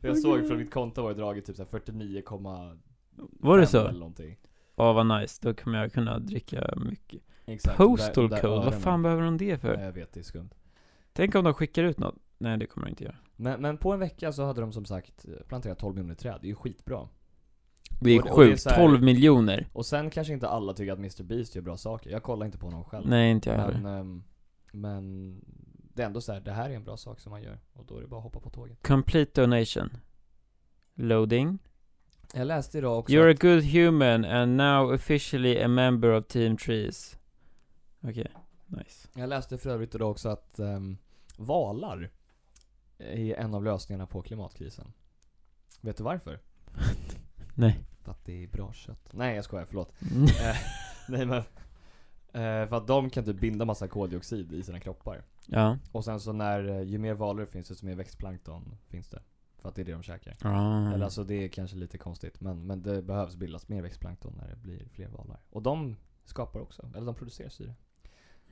[SPEAKER 2] Jag såg från mitt konto var det draget typ så här 49,
[SPEAKER 1] Var det
[SPEAKER 2] Fem Eller
[SPEAKER 1] så?
[SPEAKER 2] någonting.
[SPEAKER 1] Åh vad nice, då kommer jag kunna dricka mycket
[SPEAKER 2] Exakt.
[SPEAKER 1] Postal
[SPEAKER 2] Där- där
[SPEAKER 1] code, vad
[SPEAKER 2] öronen.
[SPEAKER 1] fan behöver de det för?
[SPEAKER 2] Nej, Jag vet, det är skumt.
[SPEAKER 1] Tänk om de skickar ut något? Nej det kommer de inte göra
[SPEAKER 2] Men, men på en vecka så hade de som sagt planterat 12 miljoner träd, det är ju skitbra.
[SPEAKER 1] Det är
[SPEAKER 2] Och- och det är
[SPEAKER 1] sjukt,
[SPEAKER 2] så här-
[SPEAKER 1] 12 miljoner!
[SPEAKER 2] Och sen kanske inte alla tycker att Mr Beast gör bra saker, jag kollar inte på honom själv.
[SPEAKER 1] Nej inte jag
[SPEAKER 2] men,
[SPEAKER 1] heller
[SPEAKER 2] ehm, men det är ändå så här, det här är en bra sak som man gör. Och då är det bara att hoppa på tåget.
[SPEAKER 1] Complete donation Loading
[SPEAKER 2] Jag läste idag också
[SPEAKER 1] You're a
[SPEAKER 2] att,
[SPEAKER 1] good human and now officially a member of Team Trees Okej, nice
[SPEAKER 2] Jag läste för övrigt idag också att ehm, Valar är en av lösningarna på klimatkrisen. Vet du varför?
[SPEAKER 1] Nej.
[SPEAKER 2] För att det är bra kött. Nej jag skojar, förlåt. (laughs) Nej men. Eh, för att de kan typ binda massa koldioxid i sina kroppar.
[SPEAKER 1] (laughs) ja.
[SPEAKER 2] Och sen så när, eh, ju mer valar det finns desto mer växtplankton finns det. För att det är det de käkar.
[SPEAKER 1] Ah.
[SPEAKER 2] Eller alltså det är kanske lite konstigt men, men det behövs bildas mer växtplankton när det blir fler valar. Och de skapar också, eller de producerar syre.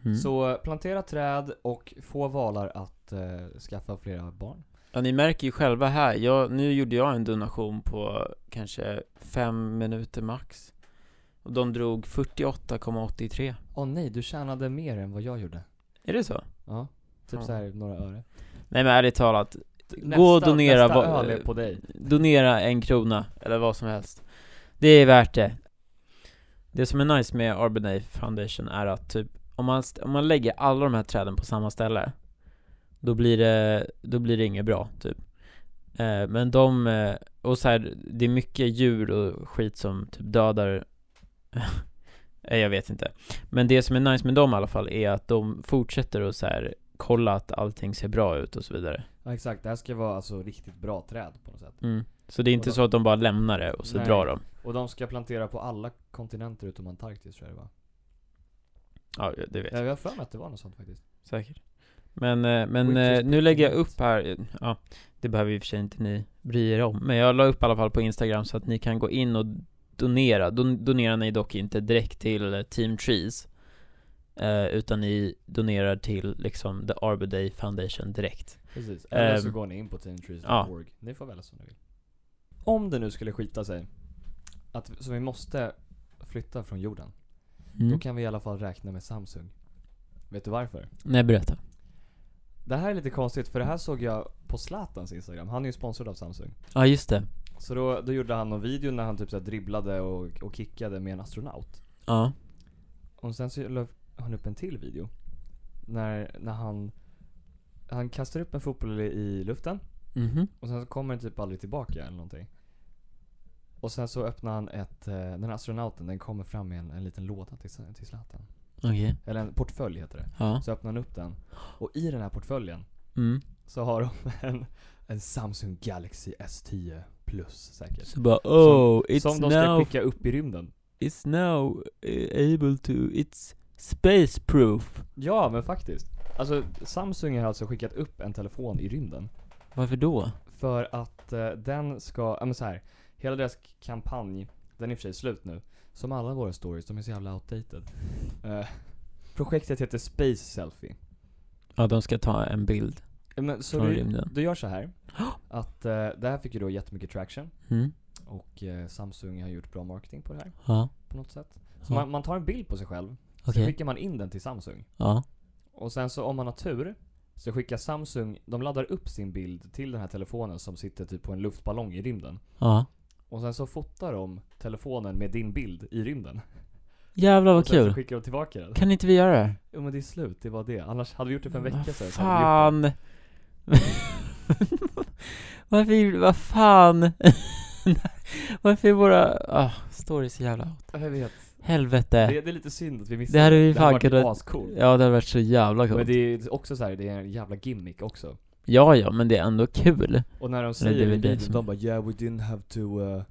[SPEAKER 1] Mm.
[SPEAKER 2] Så eh, plantera träd och få valar att eh, skaffa flera barn.
[SPEAKER 1] Ja, ni märker ju själva här, jag, nu gjorde jag en donation på kanske fem minuter max Och de drog 48,83
[SPEAKER 2] Åh nej, du tjänade mer än vad jag gjorde.
[SPEAKER 1] Är det så?
[SPEAKER 2] Ja, typ
[SPEAKER 1] Ja.
[SPEAKER 2] så här några öre.
[SPEAKER 1] Nej men ärligt talat,
[SPEAKER 2] Nästa,
[SPEAKER 1] gå och donera
[SPEAKER 2] nästa
[SPEAKER 1] va-
[SPEAKER 2] öl är
[SPEAKER 1] (laughs)
[SPEAKER 2] på dig.
[SPEAKER 1] donera en krona eller vad som helst Det är värt det Det som är nice med Arbenay Foundation är att typ om man, st- om man lägger alla de här träden på samma ställe Då blir det, då blir det inget bra typ eh, Men de, eh, och så här, det är mycket djur och skit som typ dödar (laughs) Eh, Jag vet inte Men det som är nice med dem i alla fall är att de fortsätter att så här kolla att allting ser bra ut och så vidare
[SPEAKER 2] Ja exakt, det här ska vara alltså riktigt bra träd på något sätt.
[SPEAKER 1] Mm. Så det är inte
[SPEAKER 2] Och då-
[SPEAKER 1] så att de bara lämnar det och så
[SPEAKER 2] Nej.
[SPEAKER 1] drar de?
[SPEAKER 2] Och de ska plantera på alla kontinenter utom Antarktis tror jag det var.
[SPEAKER 1] Ja, det vet jag.
[SPEAKER 2] Jag har för mig att det var något sånt faktiskt.
[SPEAKER 1] Säkert. Men, eh, men
[SPEAKER 2] Which is
[SPEAKER 1] eh, nu lägger jag
[SPEAKER 2] pretty
[SPEAKER 1] upp här, ja, det behöver i och för sig inte ni bry er om. Men jag la upp i alla fall på Instagram så att ni kan gå in och donera. Don, donerar ni dock inte direkt till eh, Team Trees. Eh, utan ni donerar till liksom The Arbor Day Foundation direkt.
[SPEAKER 2] Precis, eller så
[SPEAKER 1] Ehm,
[SPEAKER 2] går ni in på teamtrees.org. Ni får välja som ni vill. Om det nu skulle skita sig, att, så vi måste flytta från jorden,
[SPEAKER 1] Mm.
[SPEAKER 2] då kan vi i alla fall räkna med Samsung. Vet du varför?
[SPEAKER 1] Nej, berätta.
[SPEAKER 2] Det här är lite konstigt för det här såg jag på Zlatans Instagram, han är ju sponsrad av Samsung.
[SPEAKER 1] Ja, just det.
[SPEAKER 2] Så då, då gjorde han någon video när han typ så här dribblade och, och kickade med en astronaut.
[SPEAKER 1] Ja.
[SPEAKER 2] Och sen så la han upp en till video. När, när han, han kastar upp en fotboll i, i luften
[SPEAKER 1] Mhm.
[SPEAKER 2] och sen så kommer den typ aldrig tillbaka eller någonting. Och sen så öppnar han ett, eh, den här astronauten, den kommer fram med en, en liten låda till, Zla- till Zlatan.
[SPEAKER 1] Okej.
[SPEAKER 2] Eller en portfölj heter det.
[SPEAKER 1] Ja.
[SPEAKER 2] Så öppnar han upp den. Och i den här portföljen
[SPEAKER 1] Mm.
[SPEAKER 2] så har de (laughs) en, en Samsung Galaxy S10 plus säkert.
[SPEAKER 1] Så bara oh, it's
[SPEAKER 2] som de ska
[SPEAKER 1] now
[SPEAKER 2] skicka upp i rymden.
[SPEAKER 1] it's now eh, able to, it's space proof.
[SPEAKER 2] Ja men faktiskt. Alltså Samsung har alltså skickat upp en telefon i rymden.
[SPEAKER 1] Varför då?
[SPEAKER 2] För att eh, den ska, ja men så här. Hela deras k- kampanj, den är i och för sig slut nu. Som alla våra stories, de är så jävla outdated. Eh, projektet heter Space Selfie.
[SPEAKER 1] Ja, de ska ta en bild
[SPEAKER 2] Eh, Men, så
[SPEAKER 1] från
[SPEAKER 2] du,
[SPEAKER 1] rymden.
[SPEAKER 2] du gör så här. Att eh, det här fick ju då jättemycket traction.
[SPEAKER 1] Mm.
[SPEAKER 2] Och eh, Samsung har gjort bra marketing på det här.
[SPEAKER 1] Ja,
[SPEAKER 2] På något sätt. Så
[SPEAKER 1] Ja.
[SPEAKER 2] man, man tar en bild på sig själv.
[SPEAKER 1] okej.
[SPEAKER 2] Sen skickar man in den till Samsung.
[SPEAKER 1] Ja.
[SPEAKER 2] Och sen så om man har tur så skickar Samsung, de laddar upp sin bild till den här telefonen som sitter typ på en luftballong i rymden.
[SPEAKER 1] ja.
[SPEAKER 2] Och sen så fotar de telefonen med din bild i rymden.
[SPEAKER 1] Jävlar vad
[SPEAKER 2] och sen så
[SPEAKER 1] kul.
[SPEAKER 2] skickar de tillbaka den.
[SPEAKER 1] Kan inte vi göra det?
[SPEAKER 2] Jo men det är slut, det var det. Annars hade vi gjort det för Typ en vecka sedan. så hade vi gjort
[SPEAKER 1] Fan. (laughs) Varför, gjorde- vad fan? (laughs) Varför är våra, ah, stories så jävla out?
[SPEAKER 2] det. Jag vet.
[SPEAKER 1] Helvete.
[SPEAKER 2] Det, det är lite synd att vi missade
[SPEAKER 1] Eh. Det hade vi
[SPEAKER 2] Det hade
[SPEAKER 1] fan
[SPEAKER 2] varit
[SPEAKER 1] kunnat,
[SPEAKER 2] ascoolt.
[SPEAKER 1] ja det hade varit så jävla
[SPEAKER 2] Men
[SPEAKER 1] coolt.
[SPEAKER 2] det är också så här, det är en jävla gimmick också.
[SPEAKER 1] Ja, ja, men det är ändå kul.
[SPEAKER 2] Och när de
[SPEAKER 1] det är
[SPEAKER 2] säger
[SPEAKER 1] väl
[SPEAKER 2] i
[SPEAKER 1] det
[SPEAKER 2] videon,
[SPEAKER 1] som-
[SPEAKER 2] de bara 'Yeah we didn't have to uh,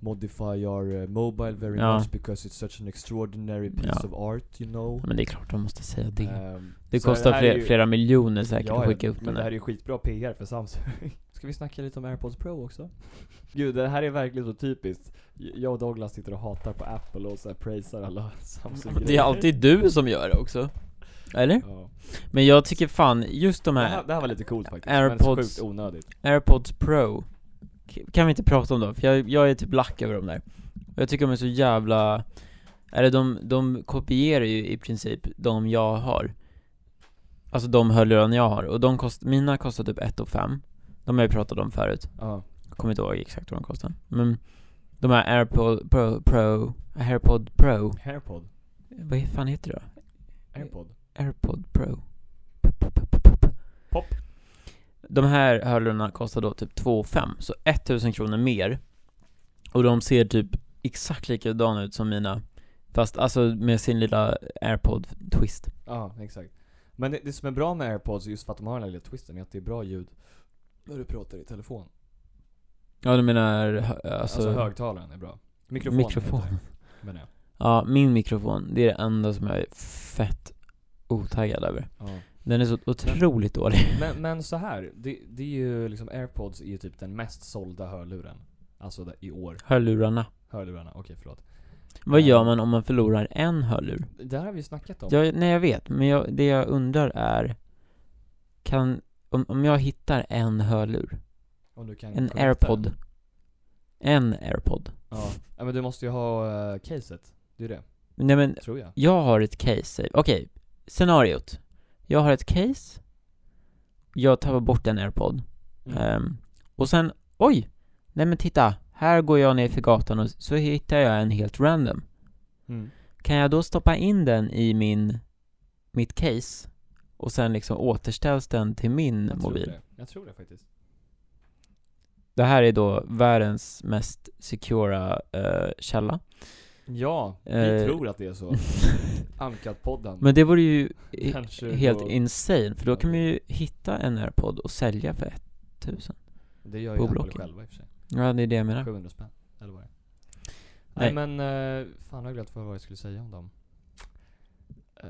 [SPEAKER 2] modify our uh, mobile very
[SPEAKER 1] Ja.
[SPEAKER 2] much because it's such an extraordinary piece
[SPEAKER 1] Ja.
[SPEAKER 2] of art you know'
[SPEAKER 1] Ja, Men det är klart de måste säga det.
[SPEAKER 2] Ehm,
[SPEAKER 1] Det
[SPEAKER 2] så
[SPEAKER 1] kostar
[SPEAKER 2] här är
[SPEAKER 1] flera,
[SPEAKER 2] ju-
[SPEAKER 1] flera miljoner säkert
[SPEAKER 2] Ja,
[SPEAKER 1] att
[SPEAKER 2] ja,
[SPEAKER 1] skicka upp
[SPEAKER 2] Men
[SPEAKER 1] den
[SPEAKER 2] det här är
[SPEAKER 1] här.
[SPEAKER 2] ju skitbra PR för Samsung. (laughs) Ska vi snacka lite om AirPods Pro också? Gud, det här är verkligen så typiskt. J- Jag och Douglas sitter och hatar på Apple och så här praisar alla (laughs) Samsung
[SPEAKER 1] Det är alltid du som gör det också. Eller?
[SPEAKER 2] ja.
[SPEAKER 1] Men jag tycker fan, just de
[SPEAKER 2] det,
[SPEAKER 1] här
[SPEAKER 2] här, det här var lite coolt faktiskt, men
[SPEAKER 1] AirPods-
[SPEAKER 2] sjukt onödigt.
[SPEAKER 1] airpods pro K- Kan vi inte prata om dem? För jag, jag är typ lack över dem där Och Jag tycker de är så jävla Eller de, de kopierar ju i princip de jag har Alltså de hörlurar jag har, och de kost, mina kostar typ 1 5 De har jag pratat om förut,
[SPEAKER 2] Ja.
[SPEAKER 1] jag kommer inte ihåg exakt vad de kostar Men de här airpod pro, pro airpod pro
[SPEAKER 2] AirPod.
[SPEAKER 1] Vad fan heter det då?
[SPEAKER 2] AirPod.
[SPEAKER 1] Airpod Pro. Pop, pop, pop, pop, pop.
[SPEAKER 2] Pop.
[SPEAKER 1] De här hörlurarna kostar då typ 2 500, så 1000 kronor mer. Och de ser typ exakt likadana ut som mina. Fast alltså med sin lilla airpod twist.
[SPEAKER 2] Ja, exakt. Men det, det som är bra med airpods, just för att de har den här lilla twisten, är att det är bra ljud när du pratar i telefon.
[SPEAKER 1] Ja du menar, hö-
[SPEAKER 2] Alltså,
[SPEAKER 1] alltså,
[SPEAKER 2] högtalaren är bra. Mikrofon.
[SPEAKER 1] mikrofon.
[SPEAKER 2] Men ja.
[SPEAKER 1] Ja, min mikrofon, det är det enda som jag är fett otaggad över.
[SPEAKER 2] ja.
[SPEAKER 1] Den är så otroligt dålig.
[SPEAKER 2] Men, men så här, det, det är ju liksom airpods är ju typ den mest sålda hörluren. Alltså det- i år.
[SPEAKER 1] Hörlurarna.
[SPEAKER 2] Hörlurarna, okej förlåt.
[SPEAKER 1] Vad
[SPEAKER 2] Ja.
[SPEAKER 1] gör man om man förlorar en hörlur?
[SPEAKER 2] Det här har vi ju snackat om.
[SPEAKER 1] Jag, nej jag vet, men jag, det jag undrar är, kan, om, om jag hittar en hörlur,
[SPEAKER 2] om du kan
[SPEAKER 1] en
[SPEAKER 2] connecta
[SPEAKER 1] airpod.
[SPEAKER 2] den.
[SPEAKER 1] En airpod.
[SPEAKER 2] Ja. ja, men du måste ju ha eh, caset. Det är det,
[SPEAKER 1] Nej men,
[SPEAKER 2] tror jag.
[SPEAKER 1] jag har ett case, okej, scenariot. Jag har ett case, jag tappar bort en airpod.
[SPEAKER 2] Mm.
[SPEAKER 1] Ehm, och sen, oj! Nej men titta, här går jag ner för gatan och så hittar jag en helt random.
[SPEAKER 2] Mm.
[SPEAKER 1] Kan jag då stoppa in den i min, mitt case? Och sen liksom återställs den till min
[SPEAKER 2] Jag tror
[SPEAKER 1] mobil?
[SPEAKER 2] det. Jag tror det faktiskt.
[SPEAKER 1] Det här är då världens mest secura eh, källa.
[SPEAKER 2] Ja, vi
[SPEAKER 1] Eh.
[SPEAKER 2] tror att det
[SPEAKER 1] (laughs)
[SPEAKER 2] är så. Uncut-podden.
[SPEAKER 1] Men det vore ju i-
[SPEAKER 2] Kanske
[SPEAKER 1] helt
[SPEAKER 2] då-
[SPEAKER 1] insane, för då
[SPEAKER 2] Ja,
[SPEAKER 1] kan
[SPEAKER 2] det-
[SPEAKER 1] man ju hitta en airpod och sälja för 1000.
[SPEAKER 2] det gör
[SPEAKER 1] på
[SPEAKER 2] ju Apple
[SPEAKER 1] Blocket.
[SPEAKER 2] själva i och för sig.
[SPEAKER 1] Ja, det är det jag menar.
[SPEAKER 2] 700 spänn, eller vad det är. Nej, men, eh, fan jag har glömt vad jag skulle säga om dem. Eh,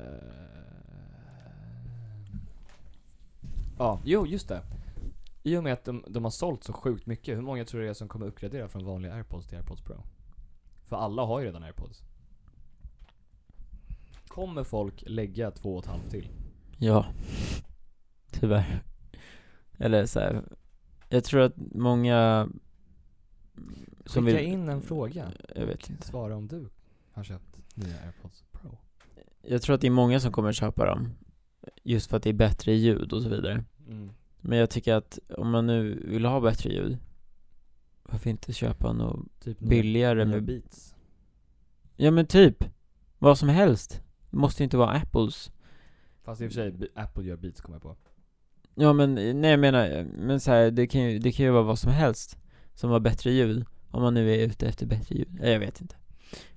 [SPEAKER 2] Ja, jo just det. I och med att de, de har sålt så sjukt mycket, hur många tror du det är som kommer uppgradera från vanliga airpods till airpods pro? För alla har ju redan airpods. Kommer folk lägga två och ett halvt till?
[SPEAKER 1] Ja. Tyvärr. Eller så här. jag tror att många
[SPEAKER 2] Skicka
[SPEAKER 1] som vill,
[SPEAKER 2] in en fråga.
[SPEAKER 1] jag vet inte.
[SPEAKER 2] Svara om du har köpt nya airpods pro.
[SPEAKER 1] Jag tror att det är många som kommer köpa dem. Just för att det är bättre ljud och så vidare.
[SPEAKER 2] Mm.
[SPEAKER 1] Men jag tycker att om man nu vill ha bättre ljud, varför inte köpa något
[SPEAKER 2] Typ nya-
[SPEAKER 1] billigare
[SPEAKER 2] nya
[SPEAKER 1] med
[SPEAKER 2] beats.
[SPEAKER 1] Ja men typ, vad som helst. Det måste inte vara Apples.
[SPEAKER 2] Fast i och för sig, Be- Apple gör beats kommer jag på.
[SPEAKER 1] Ja men, nej jag menar, men så här, det kan ju, det kan ju vara vad som helst som har bättre ljud. Om man nu är ute efter bättre ljud. Ja, Jag vet inte.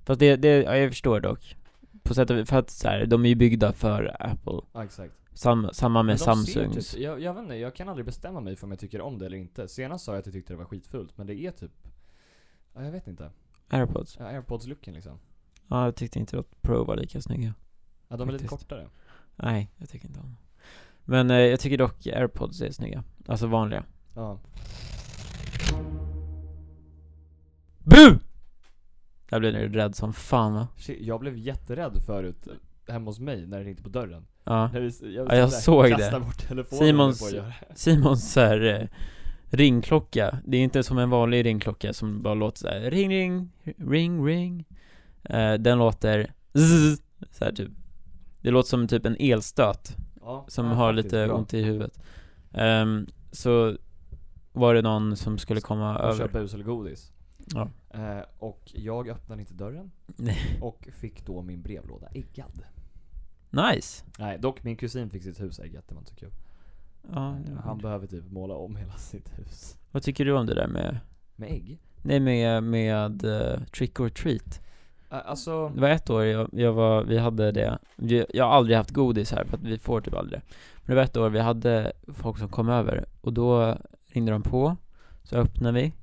[SPEAKER 1] Fast det, det, ja, jag förstår dock. På sätt och vis, för att så här, de är ju byggda för Apple.
[SPEAKER 2] Ja exakt.
[SPEAKER 1] Sam, samma med
[SPEAKER 2] de
[SPEAKER 1] Samsungs.
[SPEAKER 2] ser Typ, jag, jag vet inte, jag kan aldrig bestämma mig för om jag tycker om det eller inte. Senast sa jag att jag tyckte det var skitfult, men det är typ... Ja, jag vet inte.
[SPEAKER 1] Airpods.
[SPEAKER 2] Ja, Airpods-looken liksom.
[SPEAKER 1] Ja, jag tyckte inte att Pro var lika snygga.
[SPEAKER 2] Ja, de är lite
[SPEAKER 1] Faktiskt.
[SPEAKER 2] kortare.
[SPEAKER 1] Nej, jag tycker inte om dem. Men eh, jag tycker dock Airpods är snygga. Alltså vanliga.
[SPEAKER 2] Ja.
[SPEAKER 1] Bu! Jag blev nu rädd som fan va?
[SPEAKER 2] Shit, jag blev jätterädd förut, eh, hemma hos mig, när det ringde på dörren.
[SPEAKER 1] Ja.
[SPEAKER 2] När vi, jag
[SPEAKER 1] Ja, jag såg det.
[SPEAKER 2] kastade bort telefonen.
[SPEAKER 1] Simons-
[SPEAKER 2] på att göra.
[SPEAKER 1] Simons så här, eh, ringklocka, det är inte som en vanlig ringklocka som bara låter så här, ring ring, ring ring eh, Den låter zzz, så här typ Det låter som typ en elstöt
[SPEAKER 2] Ja,
[SPEAKER 1] som
[SPEAKER 2] ja,
[SPEAKER 1] har
[SPEAKER 2] faktiskt,
[SPEAKER 1] lite
[SPEAKER 2] bra.
[SPEAKER 1] ont i huvudet Ehm, Så var det någon som skulle komma
[SPEAKER 2] Och
[SPEAKER 1] över
[SPEAKER 2] köpa bus eller godis.
[SPEAKER 1] Ja.
[SPEAKER 2] Eh, och jag öppnade inte dörren.
[SPEAKER 1] Nej.
[SPEAKER 2] Och fick då min brevlåda äggad.
[SPEAKER 1] Nice!
[SPEAKER 2] Nej, dock min kusin fick sitt hus äggat, det var inte så kul.
[SPEAKER 1] Ja, det var
[SPEAKER 2] Han
[SPEAKER 1] det.
[SPEAKER 2] behöver typ måla om hela (laughs) sitt hus.
[SPEAKER 1] Vad tycker du om det där med,
[SPEAKER 2] Med ägg?
[SPEAKER 1] nej med, med eh, trick or treat?
[SPEAKER 2] Alltså,
[SPEAKER 1] Det var ett år jag, jag var, vi hade det, vi, jag har aldrig haft godis här för att vi får typ aldrig det. Men det var ett år vi hade folk som kom över och då ringde de på, så öppnade vi.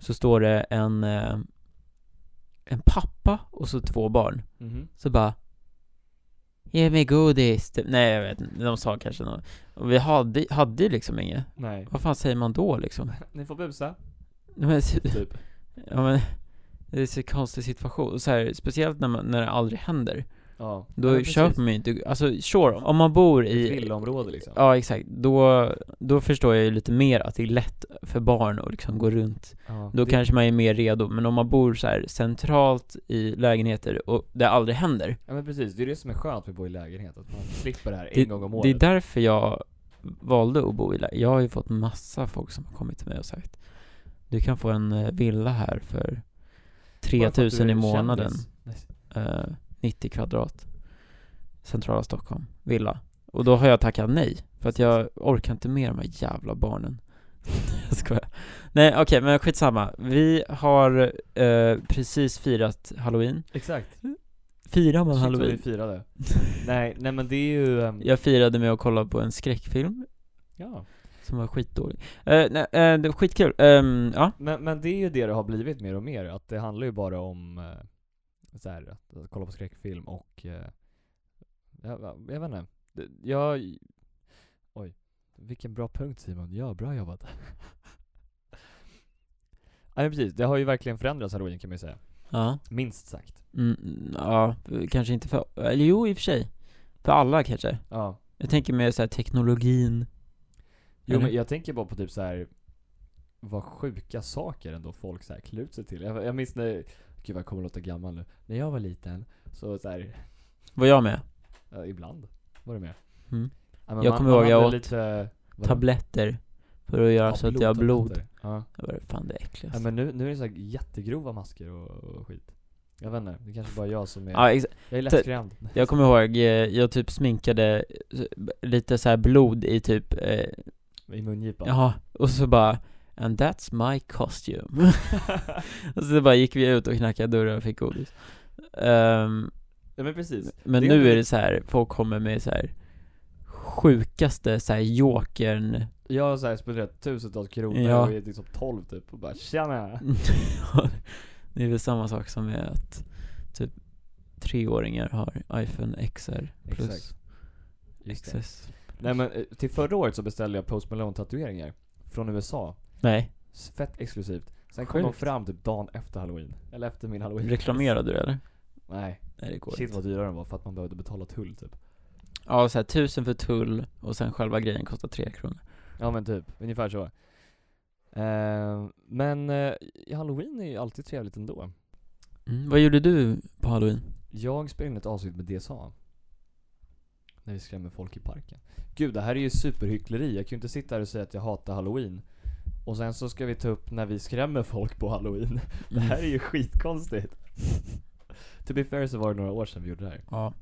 [SPEAKER 1] Så står det en, eh, en pappa och så två barn.
[SPEAKER 2] Mm-hmm.
[SPEAKER 1] Så bara Ge mig godis, typ. Nej jag vet inte, de sa kanske något. Och vi hade, hade ju liksom inget.
[SPEAKER 2] nej.
[SPEAKER 1] Vad fan säger man då liksom?
[SPEAKER 2] (laughs)
[SPEAKER 1] (laughs)
[SPEAKER 2] Ni får busa,
[SPEAKER 1] Men,
[SPEAKER 2] typ.
[SPEAKER 1] ja, men, det är så konstig situation, så här, speciellt när, man, när det aldrig händer.
[SPEAKER 2] Ja.
[SPEAKER 1] Då
[SPEAKER 2] Ja, men
[SPEAKER 1] köper
[SPEAKER 2] precis.
[SPEAKER 1] man ju inte, alltså sure, om man bor
[SPEAKER 2] Ett
[SPEAKER 1] i
[SPEAKER 2] villaområde liksom.
[SPEAKER 1] Ja exakt, då, då förstår jag ju lite mer att det är lätt för barn att liksom gå runt
[SPEAKER 2] Ja,
[SPEAKER 1] Då
[SPEAKER 2] det-
[SPEAKER 1] kanske man är mer redo, men om man bor så här centralt i lägenheter och det aldrig händer
[SPEAKER 2] Ja men precis, det är det som är skönt med att bo i lägenhet, att man slipper det här en
[SPEAKER 1] det,
[SPEAKER 2] gång om året.
[SPEAKER 1] det är därför jag valde att bo i lägenhet Jag har ju fått massa folk som har kommit till mig och sagt Du kan få en eh, villa här för
[SPEAKER 2] Bara för att du
[SPEAKER 1] 3000
[SPEAKER 2] är
[SPEAKER 1] i
[SPEAKER 2] en
[SPEAKER 1] månaden
[SPEAKER 2] kändis. Nej,
[SPEAKER 1] eh, 90 kvadrat Centrala Stockholm, villa Och då har jag tackat nej För att jag orkar inte med de här jävla barnen (laughs) Jag skojar Nej okej, men skitsamma Vi har eh, precis firat halloween
[SPEAKER 2] Exakt.
[SPEAKER 1] Firar man
[SPEAKER 2] Shit, vad vi
[SPEAKER 1] halloween? (laughs)
[SPEAKER 2] firade. nej, nej men det är ju... ehm,
[SPEAKER 1] Jag firade med att kolla på en skräckfilm
[SPEAKER 2] Ja.
[SPEAKER 1] som var skitdålig. Eh, nej, eh, det var skitkul. Ehm, ja.
[SPEAKER 2] Men, men det är ju det det har blivit mer och mer, att det handlar ju bara om eh, så här, att, att kolla på skräckfilm och eh, jag, jag vet inte. Det- Jag... Oj. Vilken bra punkt Simon. Ja, bra jobbat. (laughs) Ja men precis, det har ju verkligen förändrats halloween kan man ju säga.
[SPEAKER 1] Ja.
[SPEAKER 2] Minst sagt.
[SPEAKER 1] Mm, ja, kanske inte för, eller jo i och för sig. För alla kanske.
[SPEAKER 2] Ja.
[SPEAKER 1] Jag tänker mer såhär teknologin.
[SPEAKER 2] Jo
[SPEAKER 1] Eller?
[SPEAKER 2] men jag tänker bara på typ så här vad sjuka saker ändå folk så här klär ut sig till. Jag, jag minns när, gud vad jag kommer låta gammal nu. När jag var liten, så så här,
[SPEAKER 1] Var jag med?
[SPEAKER 2] ja, Eh, ibland var det med.
[SPEAKER 1] Mm.
[SPEAKER 2] Ja, men
[SPEAKER 1] Jag kommer ihåg, jag
[SPEAKER 2] hade
[SPEAKER 1] åt
[SPEAKER 2] lite, vadå?
[SPEAKER 1] Tabletter. För att göra
[SPEAKER 2] Ja,
[SPEAKER 1] så att jag har blod.
[SPEAKER 2] blodtabletter. Ja.
[SPEAKER 1] Det var fan det äckligaste.
[SPEAKER 2] ja men nu, nu är det så här jättegrova masker och, och skit. Jag vet inte, det kanske bara är jag som är,
[SPEAKER 1] Ja, ex-
[SPEAKER 2] jag är lättskrämd.
[SPEAKER 1] Jag kommer ihåg, eh, jag typ sminkade eh, lite så här blod i typ, eh,
[SPEAKER 2] I mungipan.
[SPEAKER 1] jaha, och så bara And that's my costume. (laughs) och så bara gick vi ut och knackade dörrar och fick godis. Ehm,
[SPEAKER 2] Ja, men precis.
[SPEAKER 1] men
[SPEAKER 2] Det är
[SPEAKER 1] nu
[SPEAKER 2] ändå
[SPEAKER 1] är det så här, folk kommer med så här sjukaste så här jokern
[SPEAKER 2] Jag har så här spenderat tusentals kronor
[SPEAKER 1] Ja. Mm,
[SPEAKER 2] och är liksom 12 typ och bara tjena.
[SPEAKER 1] (laughs) Det är väl samma sak som med att typ treåringar har iPhone XR plus
[SPEAKER 2] Exakt. Just det.
[SPEAKER 1] XS.
[SPEAKER 2] Nej men eh, till förra året så beställde jag Post Malone tatueringar Från USA
[SPEAKER 1] Nej,
[SPEAKER 2] S- Fett exklusivt Sen kom de
[SPEAKER 1] Sjukt.
[SPEAKER 2] fram typ dagen efter halloween Eller efter min halloween
[SPEAKER 1] reklamerade du eller?
[SPEAKER 2] Nej,
[SPEAKER 1] Nej det går
[SPEAKER 2] shit vad dyra de var för att man behövde betala tull typ
[SPEAKER 1] Ja, såhär tusen för tull och sen själva grejen kostar tre kronor.
[SPEAKER 2] Ja men typ, ungefär så Eh, Men eh, halloween är ju alltid trevligt ändå
[SPEAKER 1] Mm. Vad gjorde du på halloween?
[SPEAKER 2] Jag spelade in ett avsnitt med DSA När vi skrämmer folk i parken Gud det här är ju superhyckleri, jag kan ju inte sitta här och säga att jag hatar halloween Och sen så ska vi ta upp när vi skrämmer folk på halloween (laughs) Det här är ju skitkonstigt. to be fair så var det några år sedan vi gjorde det här.
[SPEAKER 1] Ja.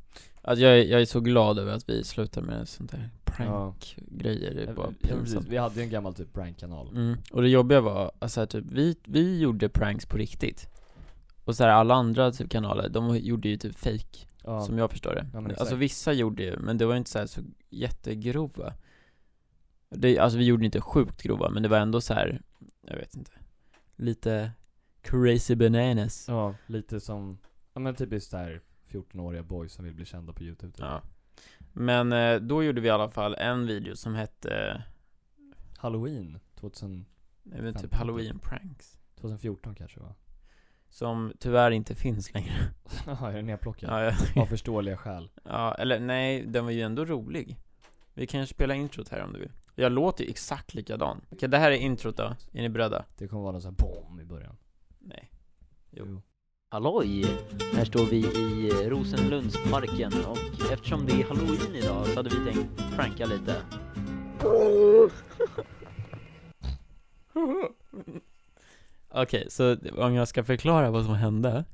[SPEAKER 1] Alltså jag, är- jag är så glad över att vi slutar med sånt där
[SPEAKER 2] Ja.
[SPEAKER 1] prankgrejer, det är Typ bara
[SPEAKER 2] Ja, precis.
[SPEAKER 1] pinsamt.
[SPEAKER 2] Vi hade ju en gammal typ prankkanal.
[SPEAKER 1] Mm. Och det jobbiga var, alltså här, typ, vi, vi gjorde pranks på riktigt. Och så här, alla andra typ kanaler, de gjorde ju typ fake,
[SPEAKER 2] Ja.
[SPEAKER 1] som jag förstår det.
[SPEAKER 2] Ja, men
[SPEAKER 1] alltså
[SPEAKER 2] exakt.
[SPEAKER 1] vissa gjorde ju, men det var inte så här så jättegrova. Det, alltså vi gjorde inte sjukt grova, men det var ändå så här, jag vet inte, lite crazy bananas.
[SPEAKER 2] ja, lite som, ja men typiskt såhär 14-åriga boys som vill bli kända på youtube typ.
[SPEAKER 1] Ja. Men eh, då gjorde vi i alla fall en video som hette,
[SPEAKER 2] Halloween 2000,
[SPEAKER 1] eh, men typ
[SPEAKER 2] Femton.
[SPEAKER 1] halloween pranks.
[SPEAKER 2] 2014 kanske va? (laughs)
[SPEAKER 1] Som tyvärr inte finns längre.
[SPEAKER 2] Jaha, är den nerplockad?
[SPEAKER 1] Ja, jag-
[SPEAKER 2] Av förståeliga skäl.
[SPEAKER 1] (laughs) ja, eller nej, den var ju ändå rolig. Vi kan ju spela introt här om du vill. Jag låter ju exakt likadan. Okej, det här är introt då. Är ni beredda?
[SPEAKER 2] Det kommer vara någon sån här bom i början.
[SPEAKER 1] Nej. Jo.
[SPEAKER 3] Halloj! Här står vi i eh, Rosenlundsparken och eftersom det är halloween idag så hade vi tänkt pranka lite.
[SPEAKER 1] (laughs) Okej, så om jag ska förklara vad som hände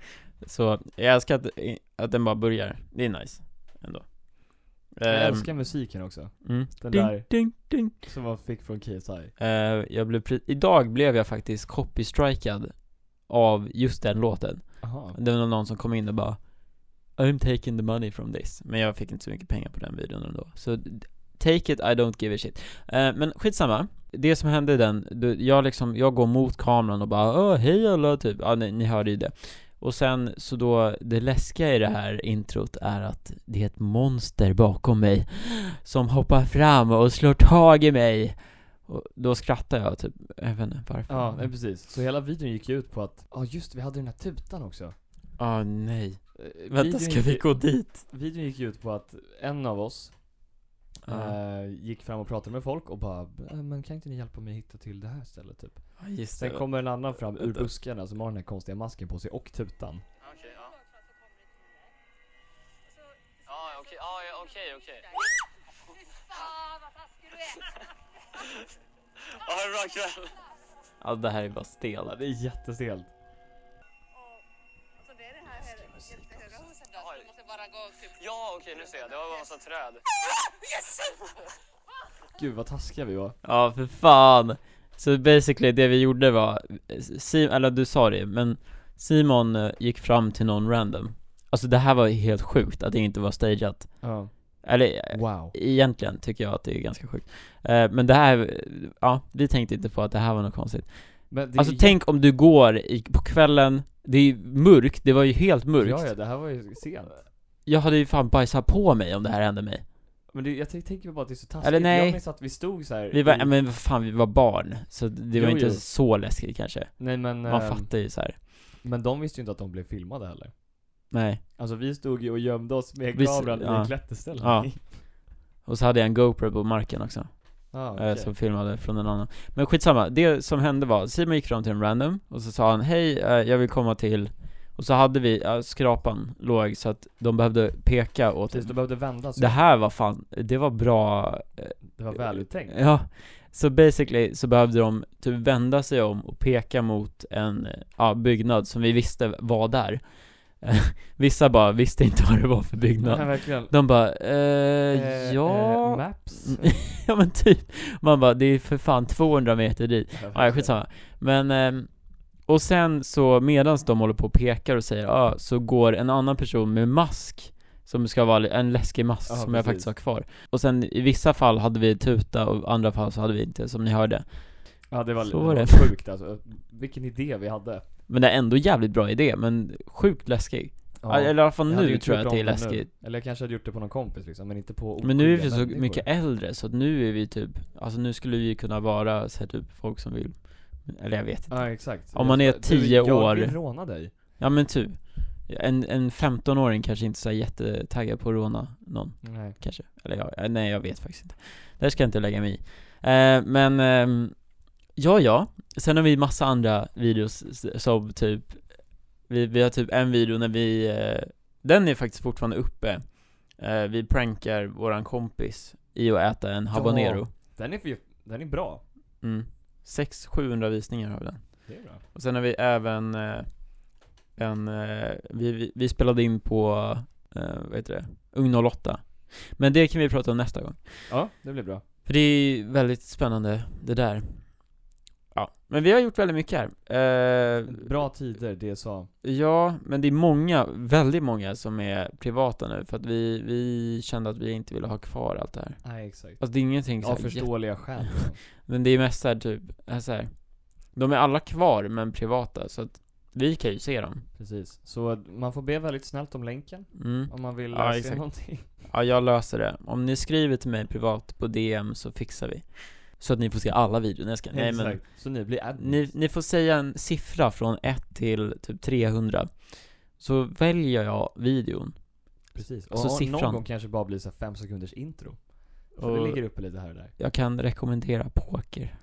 [SPEAKER 1] Så, jag älskar att, att den bara börjar. Det är nice. Ändå.
[SPEAKER 2] Jag
[SPEAKER 1] Ehm,
[SPEAKER 2] älskar musiken också.
[SPEAKER 1] mm.
[SPEAKER 2] Den
[SPEAKER 1] Ding,
[SPEAKER 2] där
[SPEAKER 1] ding, ding.
[SPEAKER 2] som man fick från KSI.
[SPEAKER 1] Eh, jag blev pre- idag blev jag faktiskt copy-strikad av just den låten.
[SPEAKER 2] Jaha.
[SPEAKER 1] Det var någon som kom in och bara I'm taking the money from this. Men jag fick inte så mycket pengar på den videon ändå. Så d- take it, I don't give a shit. Eh, men skitsamma. Det som hände i den, du- jag liksom, jag går mot kameran och bara Åh, hej alla, typ. Ja, ni, ni hörde ju det. Och sen så då, det läskiga i det här introt är att det är ett monster bakom mig som hoppar fram och slår tag i mig. Och då skrattar jag typ, jag vet inte varför.
[SPEAKER 2] Ja, men precis. Så hela videon gick ju ut på att, ja just det, vi hade den här tutan också.
[SPEAKER 1] Ah, nej.
[SPEAKER 2] Eh,
[SPEAKER 1] Vänta,
[SPEAKER 2] videon
[SPEAKER 1] ska vi
[SPEAKER 2] gick-
[SPEAKER 1] gå dit?
[SPEAKER 2] Videon gick ut på att en av oss
[SPEAKER 1] Ja,
[SPEAKER 2] eh, gick fram och pratade med folk och bara "Eh, Men kan inte ni hjälpa mig hitta till det här stället typ?
[SPEAKER 1] ah, just
[SPEAKER 2] Sen
[SPEAKER 1] det.
[SPEAKER 2] kommer en annan fram ur
[SPEAKER 1] Vänta.
[SPEAKER 2] buskarna som har den här konstiga masken på sig och tutan
[SPEAKER 4] Ah, Okej, ja. Ah, Ja, okej, ja, ja, okej, okej.
[SPEAKER 5] Fan vad taskig du är!
[SPEAKER 4] Ha en bra kväll.
[SPEAKER 1] Ja, det här är bara
[SPEAKER 2] Ja,
[SPEAKER 1] stelt.
[SPEAKER 2] det är jättestelt
[SPEAKER 5] Alltså det är det här jättehöga huset där så
[SPEAKER 4] Oj.
[SPEAKER 5] du måste bara gå typ...
[SPEAKER 4] Ja, okej, nu ser jag. Det var bara en massa träd.
[SPEAKER 2] Gud vad taskiga vi var
[SPEAKER 1] Ja, för fan. Så basically det vi gjorde var, Simon, eller du sa det, men Simon eh, gick fram till någon random Alltså det här var helt sjukt att det inte var stageat.
[SPEAKER 2] Ja.
[SPEAKER 1] Eller eh,
[SPEAKER 2] Wow.
[SPEAKER 1] Egentligen tycker jag att det är ganska sjukt. Eh, men det här, ja, vi tänkte inte på att det här var något konstigt.
[SPEAKER 2] Men det är
[SPEAKER 1] alltså
[SPEAKER 2] ju
[SPEAKER 1] tänk om du går i, på kvällen, det är ju mörkt, det var ju helt
[SPEAKER 2] jätte-
[SPEAKER 1] mörkt.
[SPEAKER 2] Ja, ja, det här var ju sent.
[SPEAKER 1] Jag hade ju fan bajsat på mig om det här hände mig.
[SPEAKER 2] Men det, jag tänk- tänker bara att det är så taskigt.
[SPEAKER 1] Eller nej.
[SPEAKER 2] Jag minns att vi stod så här.
[SPEAKER 1] Vi var,
[SPEAKER 2] i,
[SPEAKER 1] ja, men vad fan vi var barn, så det var
[SPEAKER 2] Jo,
[SPEAKER 1] inte
[SPEAKER 2] jo.
[SPEAKER 1] så läskigt kanske.
[SPEAKER 2] nej men,
[SPEAKER 1] Man
[SPEAKER 2] ehm,
[SPEAKER 1] fattar ju så här.
[SPEAKER 2] men de visste ju inte att de blev filmade heller.
[SPEAKER 1] nej.
[SPEAKER 2] Alltså vi stod ju och gömde oss med
[SPEAKER 1] Vi s-
[SPEAKER 2] kameran i
[SPEAKER 1] ja.
[SPEAKER 2] en klätterställning. (laughs)
[SPEAKER 1] Ja. Och så hade jag en GoPro på marken också,
[SPEAKER 2] ah,
[SPEAKER 1] eh, som filmade från en annan. Men skitsamma, det som hände var, Simon gick fram till en random, och så sa han hej, eh, jag vill komma till och så hade vi, eh, skrapan låg så att de behövde peka åt
[SPEAKER 2] Precis, de behövde vända sig.
[SPEAKER 1] Det här var fan, det var bra, eh,
[SPEAKER 2] Det var väluttänkt.
[SPEAKER 1] ja. Så basically så behövde de typ vända sig om och peka mot en, ja, byggnad som vi visste var där. (laughs) Vissa bara visste inte vad det var för
[SPEAKER 2] Nej,
[SPEAKER 1] byggnad.
[SPEAKER 2] verkligen.
[SPEAKER 1] De bara, eh,
[SPEAKER 2] Eh, eh,
[SPEAKER 1] ja, Mm.
[SPEAKER 2] maps.
[SPEAKER 1] (laughs) ja men typ. Man bara, det är för fan 200 meter dit. Ja, ja, skitsamma. Men, ehm, och sen så medans de håller på och pekar och säger ah, så går en annan person med mask som ska vara en läskig mask
[SPEAKER 2] Ja,
[SPEAKER 1] som jag
[SPEAKER 2] precis.
[SPEAKER 1] faktiskt har kvar. Och sen i vissa fall hade vi tuta och i andra fall så hade vi inte, som ni hörde.
[SPEAKER 2] Ja, det var,
[SPEAKER 1] Så
[SPEAKER 2] det
[SPEAKER 1] var
[SPEAKER 2] var
[SPEAKER 1] det.
[SPEAKER 2] sjukt alltså. Vilken idé vi hade.
[SPEAKER 1] Men det är ändå jävligt bra idé, men sjukt läskig.
[SPEAKER 2] Ja.
[SPEAKER 1] Eller i alla fall
[SPEAKER 2] Jag hade ju
[SPEAKER 1] nu
[SPEAKER 2] inte
[SPEAKER 1] tror jag
[SPEAKER 2] gjort
[SPEAKER 1] att det är
[SPEAKER 2] om nu.
[SPEAKER 1] läskigt.
[SPEAKER 2] Eller jag kanske hade gjort det på någon kompis liksom, men inte på
[SPEAKER 1] Men nu är vi
[SPEAKER 2] oskyldiga
[SPEAKER 1] så
[SPEAKER 2] människor.
[SPEAKER 1] mycket äldre så att nu är vi typ, alltså nu skulle vi kunna vara så här, typ folk som vill, eller jag vet inte.
[SPEAKER 2] Ja, exakt.
[SPEAKER 1] Om man är
[SPEAKER 2] Du,
[SPEAKER 1] 10 år.
[SPEAKER 2] Jag vill råna dig.
[SPEAKER 1] Ja men typ, en, en 15-åring kanske inte är så här jättetaggad på att råna någon.
[SPEAKER 2] Nej.
[SPEAKER 1] kanske. Eller jag, eh, nej jag vet faktiskt inte. Det här ska jag inte lägga mig i. Eh, men, ehm, ja ja. Sen har vi massa andra videos s- som typ, vi, vi har typ en video när vi, eh, den är faktiskt fortfarande uppe. Eh, vi prankar våran kompis i att äta en habanero.
[SPEAKER 2] Den är, för, den är bra.
[SPEAKER 1] Mm. 600-700 visningar har vi den.
[SPEAKER 2] Det är bra.
[SPEAKER 1] Och sen har vi även eh, en, eh, vi, vi, vi spelade in på, eh, vad heter det, Ung 08. Men det kan vi prata om nästa gång.
[SPEAKER 2] Ja, det blir bra.
[SPEAKER 1] För det är ju väldigt spännande, det där. Ja, men vi har gjort väldigt mycket här. Eh,
[SPEAKER 2] Bra tider, det sa.
[SPEAKER 1] ja, men det är många, väldigt många som är privata nu, för att vi, vi kände att vi inte ville ha kvar allt det här.
[SPEAKER 2] Nej, exakt.
[SPEAKER 1] Alltså det är ingenting så
[SPEAKER 2] Av
[SPEAKER 1] här, jätte-
[SPEAKER 2] förståeliga skäl. liksom.
[SPEAKER 1] men det är mest såhär typ, eh, så här. de är alla kvar men privata, så att vi kan ju se dem.
[SPEAKER 2] Precis. Så man får be väldigt snällt om länken.
[SPEAKER 1] Mm.
[SPEAKER 2] Om man vill
[SPEAKER 1] Ja,
[SPEAKER 2] ja, se
[SPEAKER 1] exakt.
[SPEAKER 2] någonting.
[SPEAKER 1] Ja, jag löser det. Om ni skriver till mig privat på DM så fixar vi. Så att ni får se alla videor. Nej, jag ska- Nej men,
[SPEAKER 2] Exakt. Så ni blir admins.
[SPEAKER 1] Ni, ni får säga en siffra från 1 till typ 300 Så väljer jag videon
[SPEAKER 2] Precis. Och,
[SPEAKER 1] alltså
[SPEAKER 2] och någon
[SPEAKER 1] siffran.
[SPEAKER 2] gång kanske bara blir så här fem sekunders intro. Så det
[SPEAKER 1] Och-
[SPEAKER 2] ligger uppe lite här och där.
[SPEAKER 1] Jag kan rekommendera poker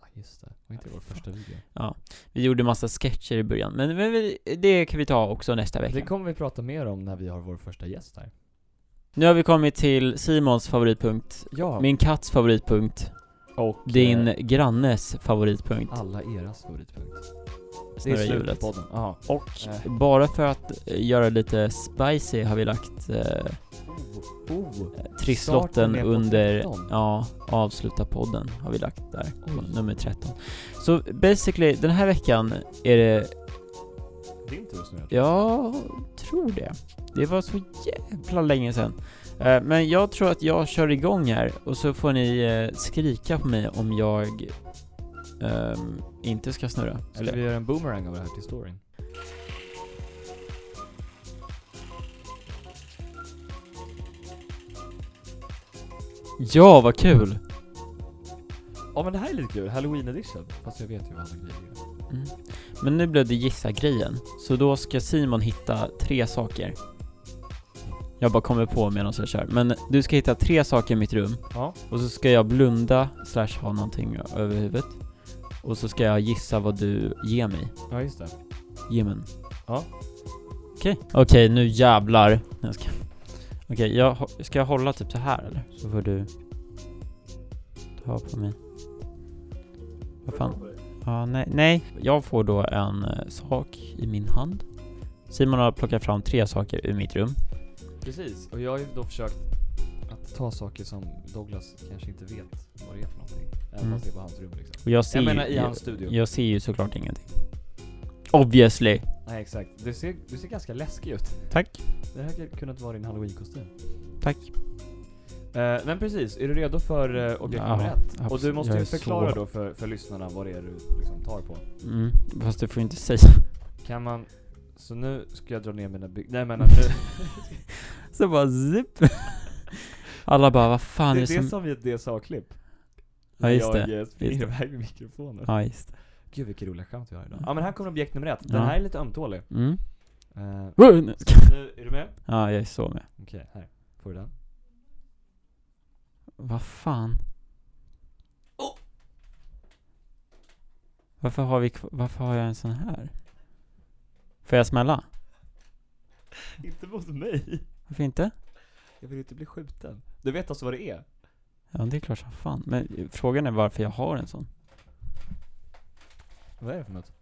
[SPEAKER 2] Ja, just det. Var inte vår första video?
[SPEAKER 1] Vi gjorde massa sketcher i början, men, men vi- det kan vi ta också nästa
[SPEAKER 2] Det
[SPEAKER 1] vecka
[SPEAKER 2] kommer vi prata mer om när vi har vår första gäst här.
[SPEAKER 1] Nu har vi kommit till Simons favoritpunkt
[SPEAKER 2] Ja.
[SPEAKER 1] Min katts favoritpunkt
[SPEAKER 2] och
[SPEAKER 1] Din
[SPEAKER 2] eh,
[SPEAKER 1] grannes favoritpunkt
[SPEAKER 2] alla eras favoritpunkt. Det är
[SPEAKER 1] Snurra
[SPEAKER 2] slutet
[SPEAKER 1] hjulet
[SPEAKER 2] på podden. Jaha.
[SPEAKER 1] Och
[SPEAKER 2] Eh.
[SPEAKER 1] bara för att eh, göra lite spicy har vi lagt eh,
[SPEAKER 2] Oh, oh.
[SPEAKER 1] Trisslotten
[SPEAKER 2] Starten är på
[SPEAKER 1] under,
[SPEAKER 2] 13.
[SPEAKER 1] ja, avsluta podden har vi lagt där, på
[SPEAKER 2] Oj.
[SPEAKER 1] nummer 13. Så basically, den här veckan är det,
[SPEAKER 2] Din tur att snurra.
[SPEAKER 1] jag tror det. Det var så jävla länge sedan. Eh, Men jag tror att jag kör igång här och så får ni eh, skrika på mig om jag ehm, inte ska snurra.
[SPEAKER 2] Ska
[SPEAKER 1] Eller?
[SPEAKER 2] vi göra en boomerang av det här till storyn?
[SPEAKER 1] Ja, vad kul!
[SPEAKER 2] Ja men det här är lite kul, halloween edition. Fast jag vet ju vad alla grejer är.
[SPEAKER 1] Mm. Men nu blev det gissa-grejen, så då ska Simon hitta tre saker. Jag bara kommer på medan jag kör, men du ska hitta tre saker i mitt rum
[SPEAKER 2] Ja.
[SPEAKER 1] och så ska jag blunda slash ha någonting över huvudet och så ska jag gissa vad du ger mig.
[SPEAKER 2] Ja just det.
[SPEAKER 1] Ge mig en.
[SPEAKER 2] Ja.
[SPEAKER 1] Okej. Okej, nu jävlar. Nej, jag ska... Okej, jag hå- ska jag hålla typ så här eller? Så får du ta på mig. Vad fan? Ja, nej, nej. Jag får då en eh, sak i min hand. Simon har plockat fram tre saker ur mitt rum.
[SPEAKER 2] Precis, och jag har ju då försökt att ta saker som Douglas kanske inte vet vad det är för någonting. Även
[SPEAKER 1] Mm.
[SPEAKER 2] fast det är på hans rum liksom.
[SPEAKER 1] Och jag ser
[SPEAKER 2] Jag menar
[SPEAKER 1] ju,
[SPEAKER 2] i hans studio.
[SPEAKER 1] Jag ser ju såklart ingenting. Obviously.
[SPEAKER 2] Nej exakt. Du ser, du ser ganska läskig ut.
[SPEAKER 1] Tack.
[SPEAKER 2] Det här hade kunnat vara din halloweenkostym.
[SPEAKER 1] Tack.
[SPEAKER 2] Eh, men precis, är du redo för eh, objekt
[SPEAKER 1] Ja,
[SPEAKER 2] nummer ett?
[SPEAKER 1] absolut.
[SPEAKER 2] Och du måste
[SPEAKER 1] Jag
[SPEAKER 2] ju
[SPEAKER 1] är så-
[SPEAKER 2] förklara då för, för lyssnarna vad det är du liksom tar på.
[SPEAKER 1] Mm. Fast du får inte säga.
[SPEAKER 2] Kan man... Så nu ska jag dra ner mina byg... Nej men alltså,
[SPEAKER 1] (laughs)
[SPEAKER 2] nu...
[SPEAKER 1] Så bara zip. Alla bara, vad fan
[SPEAKER 2] det
[SPEAKER 1] är det,
[SPEAKER 2] är det
[SPEAKER 1] som...
[SPEAKER 2] som är ett DSA-klipp.
[SPEAKER 1] Ja, just
[SPEAKER 2] jag
[SPEAKER 1] det.
[SPEAKER 2] eh, springer
[SPEAKER 1] Just det.
[SPEAKER 2] iväg med mikrofonen.
[SPEAKER 1] Ja, just det.
[SPEAKER 2] Gud vilka roliga skämt vi har idag.
[SPEAKER 1] Mm.
[SPEAKER 2] Ja men här kommer objekt nummer ett. Den
[SPEAKER 1] Ja.
[SPEAKER 2] här är lite ömtålig.
[SPEAKER 1] Mm.
[SPEAKER 2] Eh,
[SPEAKER 1] Woo! Nu-
[SPEAKER 2] nu, är du med?
[SPEAKER 1] Ja, jag är så med.
[SPEAKER 2] Okej, här. Får du den?
[SPEAKER 1] Vad fan? Varför har vi kv- Varför har jag en sån här? Får jag smälla?
[SPEAKER 2] inte mot mig.
[SPEAKER 1] Varför inte?
[SPEAKER 2] Jag vill inte bli skjuten. Du vet alltså vad det är?
[SPEAKER 1] Ja, det är klart som fan. Men eh, frågan är varför jag har en sån.
[SPEAKER 2] Vad är det för något?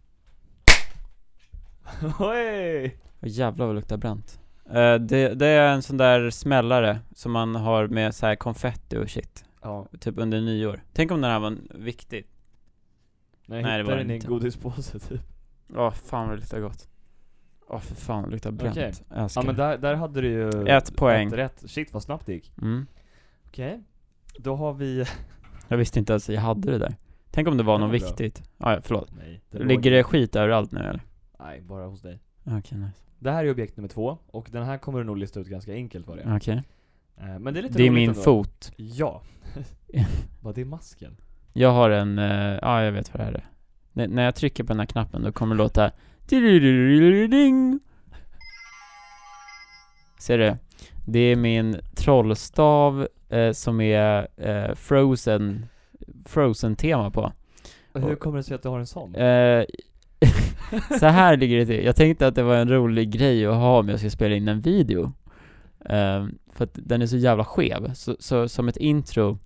[SPEAKER 2] (laughs) Oj!
[SPEAKER 1] Åh jävlar vad det luktar bränt. Eh, det, det är en sån där smällare som man har med så här konfetti och shit.
[SPEAKER 2] Ja,
[SPEAKER 1] Typ under nyår. Tänk om den här var en- viktig.
[SPEAKER 2] nej,
[SPEAKER 1] Nej, det
[SPEAKER 2] jag
[SPEAKER 1] var
[SPEAKER 2] hittade den
[SPEAKER 1] det
[SPEAKER 2] i en
[SPEAKER 1] inte.
[SPEAKER 2] godispåse typ.
[SPEAKER 1] Ja, fan vad det luktar gott. Ja, för fan vad det luktar bränt.
[SPEAKER 2] Okej.
[SPEAKER 1] Jag älskar
[SPEAKER 2] Ja men
[SPEAKER 1] det.
[SPEAKER 2] där, där hade du ju...
[SPEAKER 1] Ett poäng.
[SPEAKER 2] rätt. Shit vad snabbt det gick.
[SPEAKER 1] Mm.
[SPEAKER 2] Okej. Då har vi...
[SPEAKER 1] Jag visste inte ens att jag hade det där. Tänk om det var
[SPEAKER 2] Det
[SPEAKER 1] något
[SPEAKER 2] var bra.
[SPEAKER 1] viktigt. Ah, ja, förlåt.
[SPEAKER 2] Nej.
[SPEAKER 1] Ligger det skit överallt nu eller?
[SPEAKER 2] Nej, bara hos dig.
[SPEAKER 1] Okej, nice.
[SPEAKER 2] Det här är objekt nummer två, och den här kommer du nog lista ut ganska enkelt vad det är.
[SPEAKER 1] Okej.
[SPEAKER 2] Eh, Men det är
[SPEAKER 1] Mm.
[SPEAKER 2] lite
[SPEAKER 1] Det är
[SPEAKER 2] roligt
[SPEAKER 1] min
[SPEAKER 2] ändå.
[SPEAKER 1] fot. (laughs)
[SPEAKER 2] Ja. Vad det är masken?
[SPEAKER 1] Jag har en, eh, ja jag vet vad det här är. N- när jag trycker på den här knappen då kommer det låta ding. Ser du? Det är min trollstav eh, som är eh, frozen, frozen-tema på.
[SPEAKER 2] Och hur kommer det sig att du har en sån?
[SPEAKER 1] Eh, (laughs) så här ligger det till. Jag tänkte att det var en rolig grej att ha om jag ska spela in en video. Eh, för att den är så jävla skev. Så, så som ett intro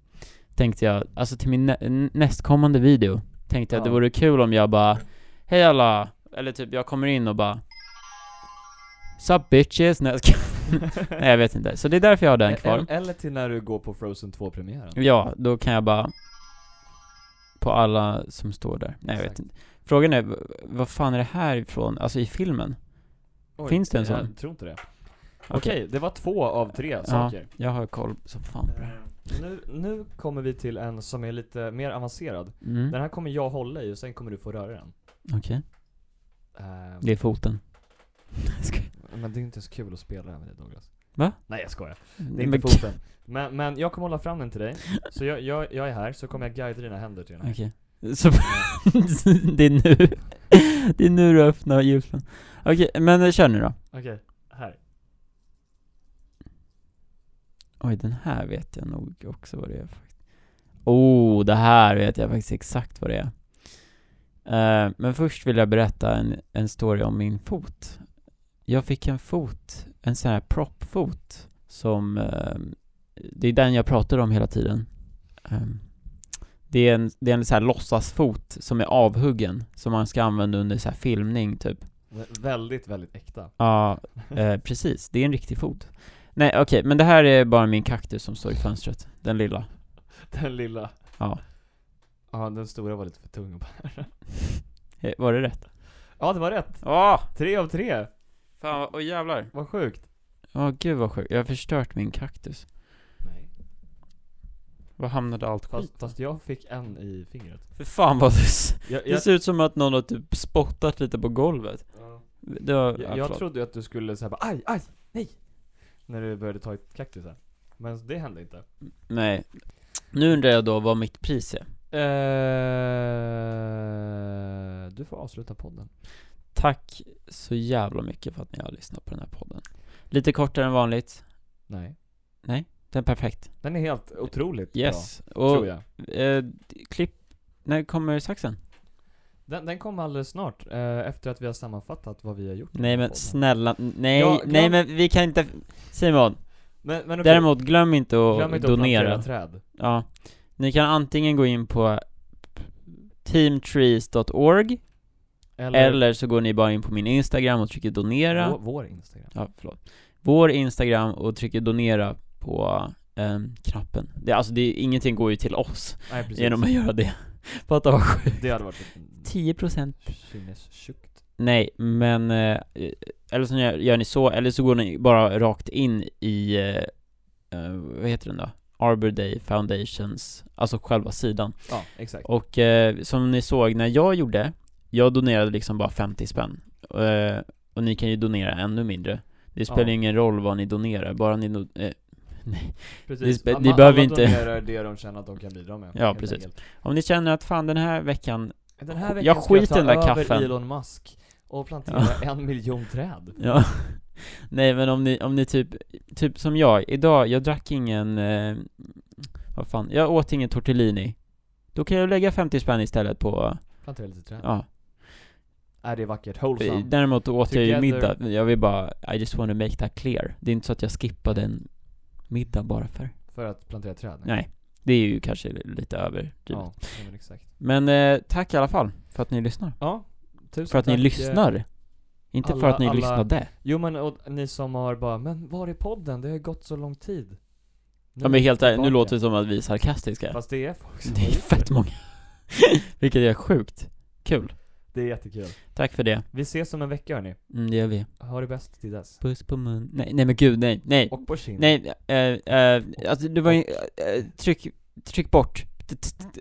[SPEAKER 1] tänkte jag, alltså till min nä- n- nästkommande video, tänkte jag att det
[SPEAKER 2] Ja.
[SPEAKER 1] vore kul om jag bara Hej alla! Eller typ jag kommer in och bara Sup bitches! Nej, jag ska- (laughs) Nej jag vet inte. Så det är därför jag har den kvar.
[SPEAKER 2] Eller- Eh, Eller till när du går på Frozen 2-premiären.
[SPEAKER 1] Ja, då kan jag bara På alla som står där. Nej jag vet
[SPEAKER 2] Exakt.
[SPEAKER 1] inte. Frågan är, v- vad fan är det här ifrån? Alltså i filmen?
[SPEAKER 2] Oj,
[SPEAKER 1] Finns det en sån?
[SPEAKER 2] Jag tror inte det. Okej, det var två av tre saker.
[SPEAKER 1] Jag har koll som fan på det här.
[SPEAKER 2] Nu, nu kommer vi till en som är lite mer avancerad.
[SPEAKER 1] Mm,
[SPEAKER 2] Den här kommer jag hålla i och sen kommer du få röra den.
[SPEAKER 1] okej.
[SPEAKER 2] Ehm,
[SPEAKER 1] Det är foten. (laughs) Jag skojar.
[SPEAKER 2] Men det är inte så kul att spela den med dig Douglas.
[SPEAKER 1] Va?
[SPEAKER 2] Nej jag skojar. Det är
[SPEAKER 1] Nej,
[SPEAKER 2] inte
[SPEAKER 1] men-
[SPEAKER 2] foten. Men, men jag kommer hålla fram den till dig. Så jag, jag, jag är här, så kommer jag guida dina händer till den. här.
[SPEAKER 1] Okej. Så (laughs) det är nu (laughs) Det är nu du öppnar gylfen. Okej, men eh, kör nu då.
[SPEAKER 2] Okej, här.
[SPEAKER 1] Oj, den här vet jag nog också vad det är faktiskt. Oh, det här vet jag faktiskt exakt vad det är. Eh, men först vill jag berätta en, en story om min fot. Jag fick en fot, en sån här proppfot, som... eh, det är den jag pratar om hela tiden. Eh, det är en, det är en sån här låtsasfot som är avhuggen, som man ska använda under så här filmning typ.
[SPEAKER 2] Den är Väldigt, väldigt äkta.
[SPEAKER 1] Ja, eh, precis. Det är en riktig fot. Nej, okej, men det här är bara min kaktus som står i fönstret. Den lilla.
[SPEAKER 2] Den lilla.
[SPEAKER 1] Ja.
[SPEAKER 2] Ja, den stora var lite för tung att bära.
[SPEAKER 1] Eh, Var det rätt?
[SPEAKER 2] Ja, det var rätt.
[SPEAKER 1] Åh!
[SPEAKER 2] Tre av tre.
[SPEAKER 1] Fan, åh jävlar.
[SPEAKER 2] Vad sjukt.
[SPEAKER 1] Ja, gud vad sjukt. Jag har förstört min kaktus.
[SPEAKER 2] Nej.
[SPEAKER 1] Var hamnade allt skit?
[SPEAKER 2] Fast, fast jag fick en i fingret.
[SPEAKER 1] För fan vad du... s-
[SPEAKER 2] Jag,
[SPEAKER 1] Det
[SPEAKER 2] jag,
[SPEAKER 1] ser ut som att någon har typ spottat lite på golvet. Det var, ja,
[SPEAKER 2] jag, jag
[SPEAKER 1] förlåt.
[SPEAKER 2] trodde ju att du skulle säga bara aj, aj, nej. När du började ta i kaktusar. Men det hände inte.
[SPEAKER 1] Nej. Nu undrar jag då vad mitt pris är. Eh,
[SPEAKER 2] du får avsluta podden.
[SPEAKER 1] Tack så jävla mycket för att ni har lyssnat på den här podden. Lite kortare än vanligt.
[SPEAKER 2] Nej.
[SPEAKER 1] Den är perfekt.
[SPEAKER 2] Den är helt otroligt
[SPEAKER 1] Yes.
[SPEAKER 2] bra,
[SPEAKER 1] Och
[SPEAKER 2] tror jag.
[SPEAKER 1] Eh, d- klipp, när kommer saxen?
[SPEAKER 2] Den, den kommer alldeles snart, eh, efter att vi har sammanfattat vad vi har gjort. i
[SPEAKER 1] Nej
[SPEAKER 2] den här
[SPEAKER 1] men
[SPEAKER 2] podden.
[SPEAKER 1] snälla, n- nej,
[SPEAKER 2] Ja,
[SPEAKER 1] nej
[SPEAKER 2] glöm-
[SPEAKER 1] men vi kan inte, Simon,
[SPEAKER 2] Men, men okej,
[SPEAKER 1] däremot glöm inte att
[SPEAKER 2] glöm inte att
[SPEAKER 1] donera.
[SPEAKER 2] plantera träd.
[SPEAKER 1] ja. Ni kan antingen gå in på teamtrees.org, eller, så går ni bara in på min Instagram och trycker donera.
[SPEAKER 2] Vår, vår Instagram.
[SPEAKER 1] Ja, förlåt. Vår Instagram och trycker donera på ehm, knappen. Det, alltså det, är- ingenting går ju till oss
[SPEAKER 2] Nej precis.
[SPEAKER 1] (laughs) genom att göra det. Fatta vad sjukt.
[SPEAKER 2] Det hade varit lite
[SPEAKER 1] 10%
[SPEAKER 2] kinessjukt.
[SPEAKER 1] Nej, men eh, eller så gör, gör ni så, eller så går ni bara rakt in i, eh, eh, vad heter den då? Arbor Day Foundations, alltså själva sidan.
[SPEAKER 2] Ja, exakt.
[SPEAKER 1] Och eh, som ni såg när jag gjorde, jag donerade liksom bara 50 spänn. Eh, och ni kan ju donera ännu mindre. Det spelar
[SPEAKER 2] Ja.
[SPEAKER 1] ingen roll vad ni donerar, bara ni no- eh,
[SPEAKER 2] Precis.
[SPEAKER 1] det spe-
[SPEAKER 2] Alla-
[SPEAKER 1] det behöver
[SPEAKER 2] alla
[SPEAKER 1] inte-
[SPEAKER 2] donerar det de känner att de kan bidra med.
[SPEAKER 1] Ja,
[SPEAKER 2] helt
[SPEAKER 1] precis.
[SPEAKER 2] enkelt.
[SPEAKER 1] Om ni känner att fan den här veckan,
[SPEAKER 2] Den här
[SPEAKER 1] Jag
[SPEAKER 2] veckan ska jag
[SPEAKER 1] skiter i
[SPEAKER 2] ta
[SPEAKER 1] den där
[SPEAKER 2] över
[SPEAKER 1] kaffen.
[SPEAKER 2] Elon Musk och plantera en miljon träd.
[SPEAKER 1] ja (laughs) Nej men om ni, om ni typ, typ som jag, idag, jag drack ingen, eh, vad fan, jag åt ingen tortellini Då kan jag lägga 50 spänn istället på,
[SPEAKER 2] Plantera lite träd.
[SPEAKER 1] ja
[SPEAKER 2] Är det vackert? Wholesome.
[SPEAKER 1] Däremot åt jag ju middag,
[SPEAKER 2] Together.
[SPEAKER 1] jag vill bara, I just wanna make that clear Det är inte så att jag skippade en middag bara för
[SPEAKER 2] För att plantera träd?
[SPEAKER 1] Nej, det är ju kanske lite överdrivet
[SPEAKER 2] Ja, nej, men exakt.
[SPEAKER 1] Men eh, tack i alla fall för att ni lyssnar
[SPEAKER 2] Ja, tusen
[SPEAKER 1] För att ni
[SPEAKER 2] tack, eh,
[SPEAKER 1] lyssnar! Inte för
[SPEAKER 2] alla-
[SPEAKER 1] att ni
[SPEAKER 2] alla-
[SPEAKER 1] lyssnade
[SPEAKER 2] Jo men och ni som har bara 'Men var är podden? Det har ju gått så lång tid' Nu
[SPEAKER 1] Ja men helt ärligt, nu låter det som att vi är sarkastiska
[SPEAKER 2] Fast det är folk som
[SPEAKER 1] Det är fett många (laughs) Vilket är sjukt Kul
[SPEAKER 2] Det är jättekul.
[SPEAKER 1] Tack för det
[SPEAKER 2] Vi ses om en vecka hörni.
[SPEAKER 1] mm, Det gör vi
[SPEAKER 2] Ha det bäst till dess.
[SPEAKER 1] Puss på mun Nej, nej men gud, nej, nej
[SPEAKER 2] Och på kind.
[SPEAKER 1] Nej, eh, eh, alltså det var ju, eh, eh, tryck, tryck bort T- t- t-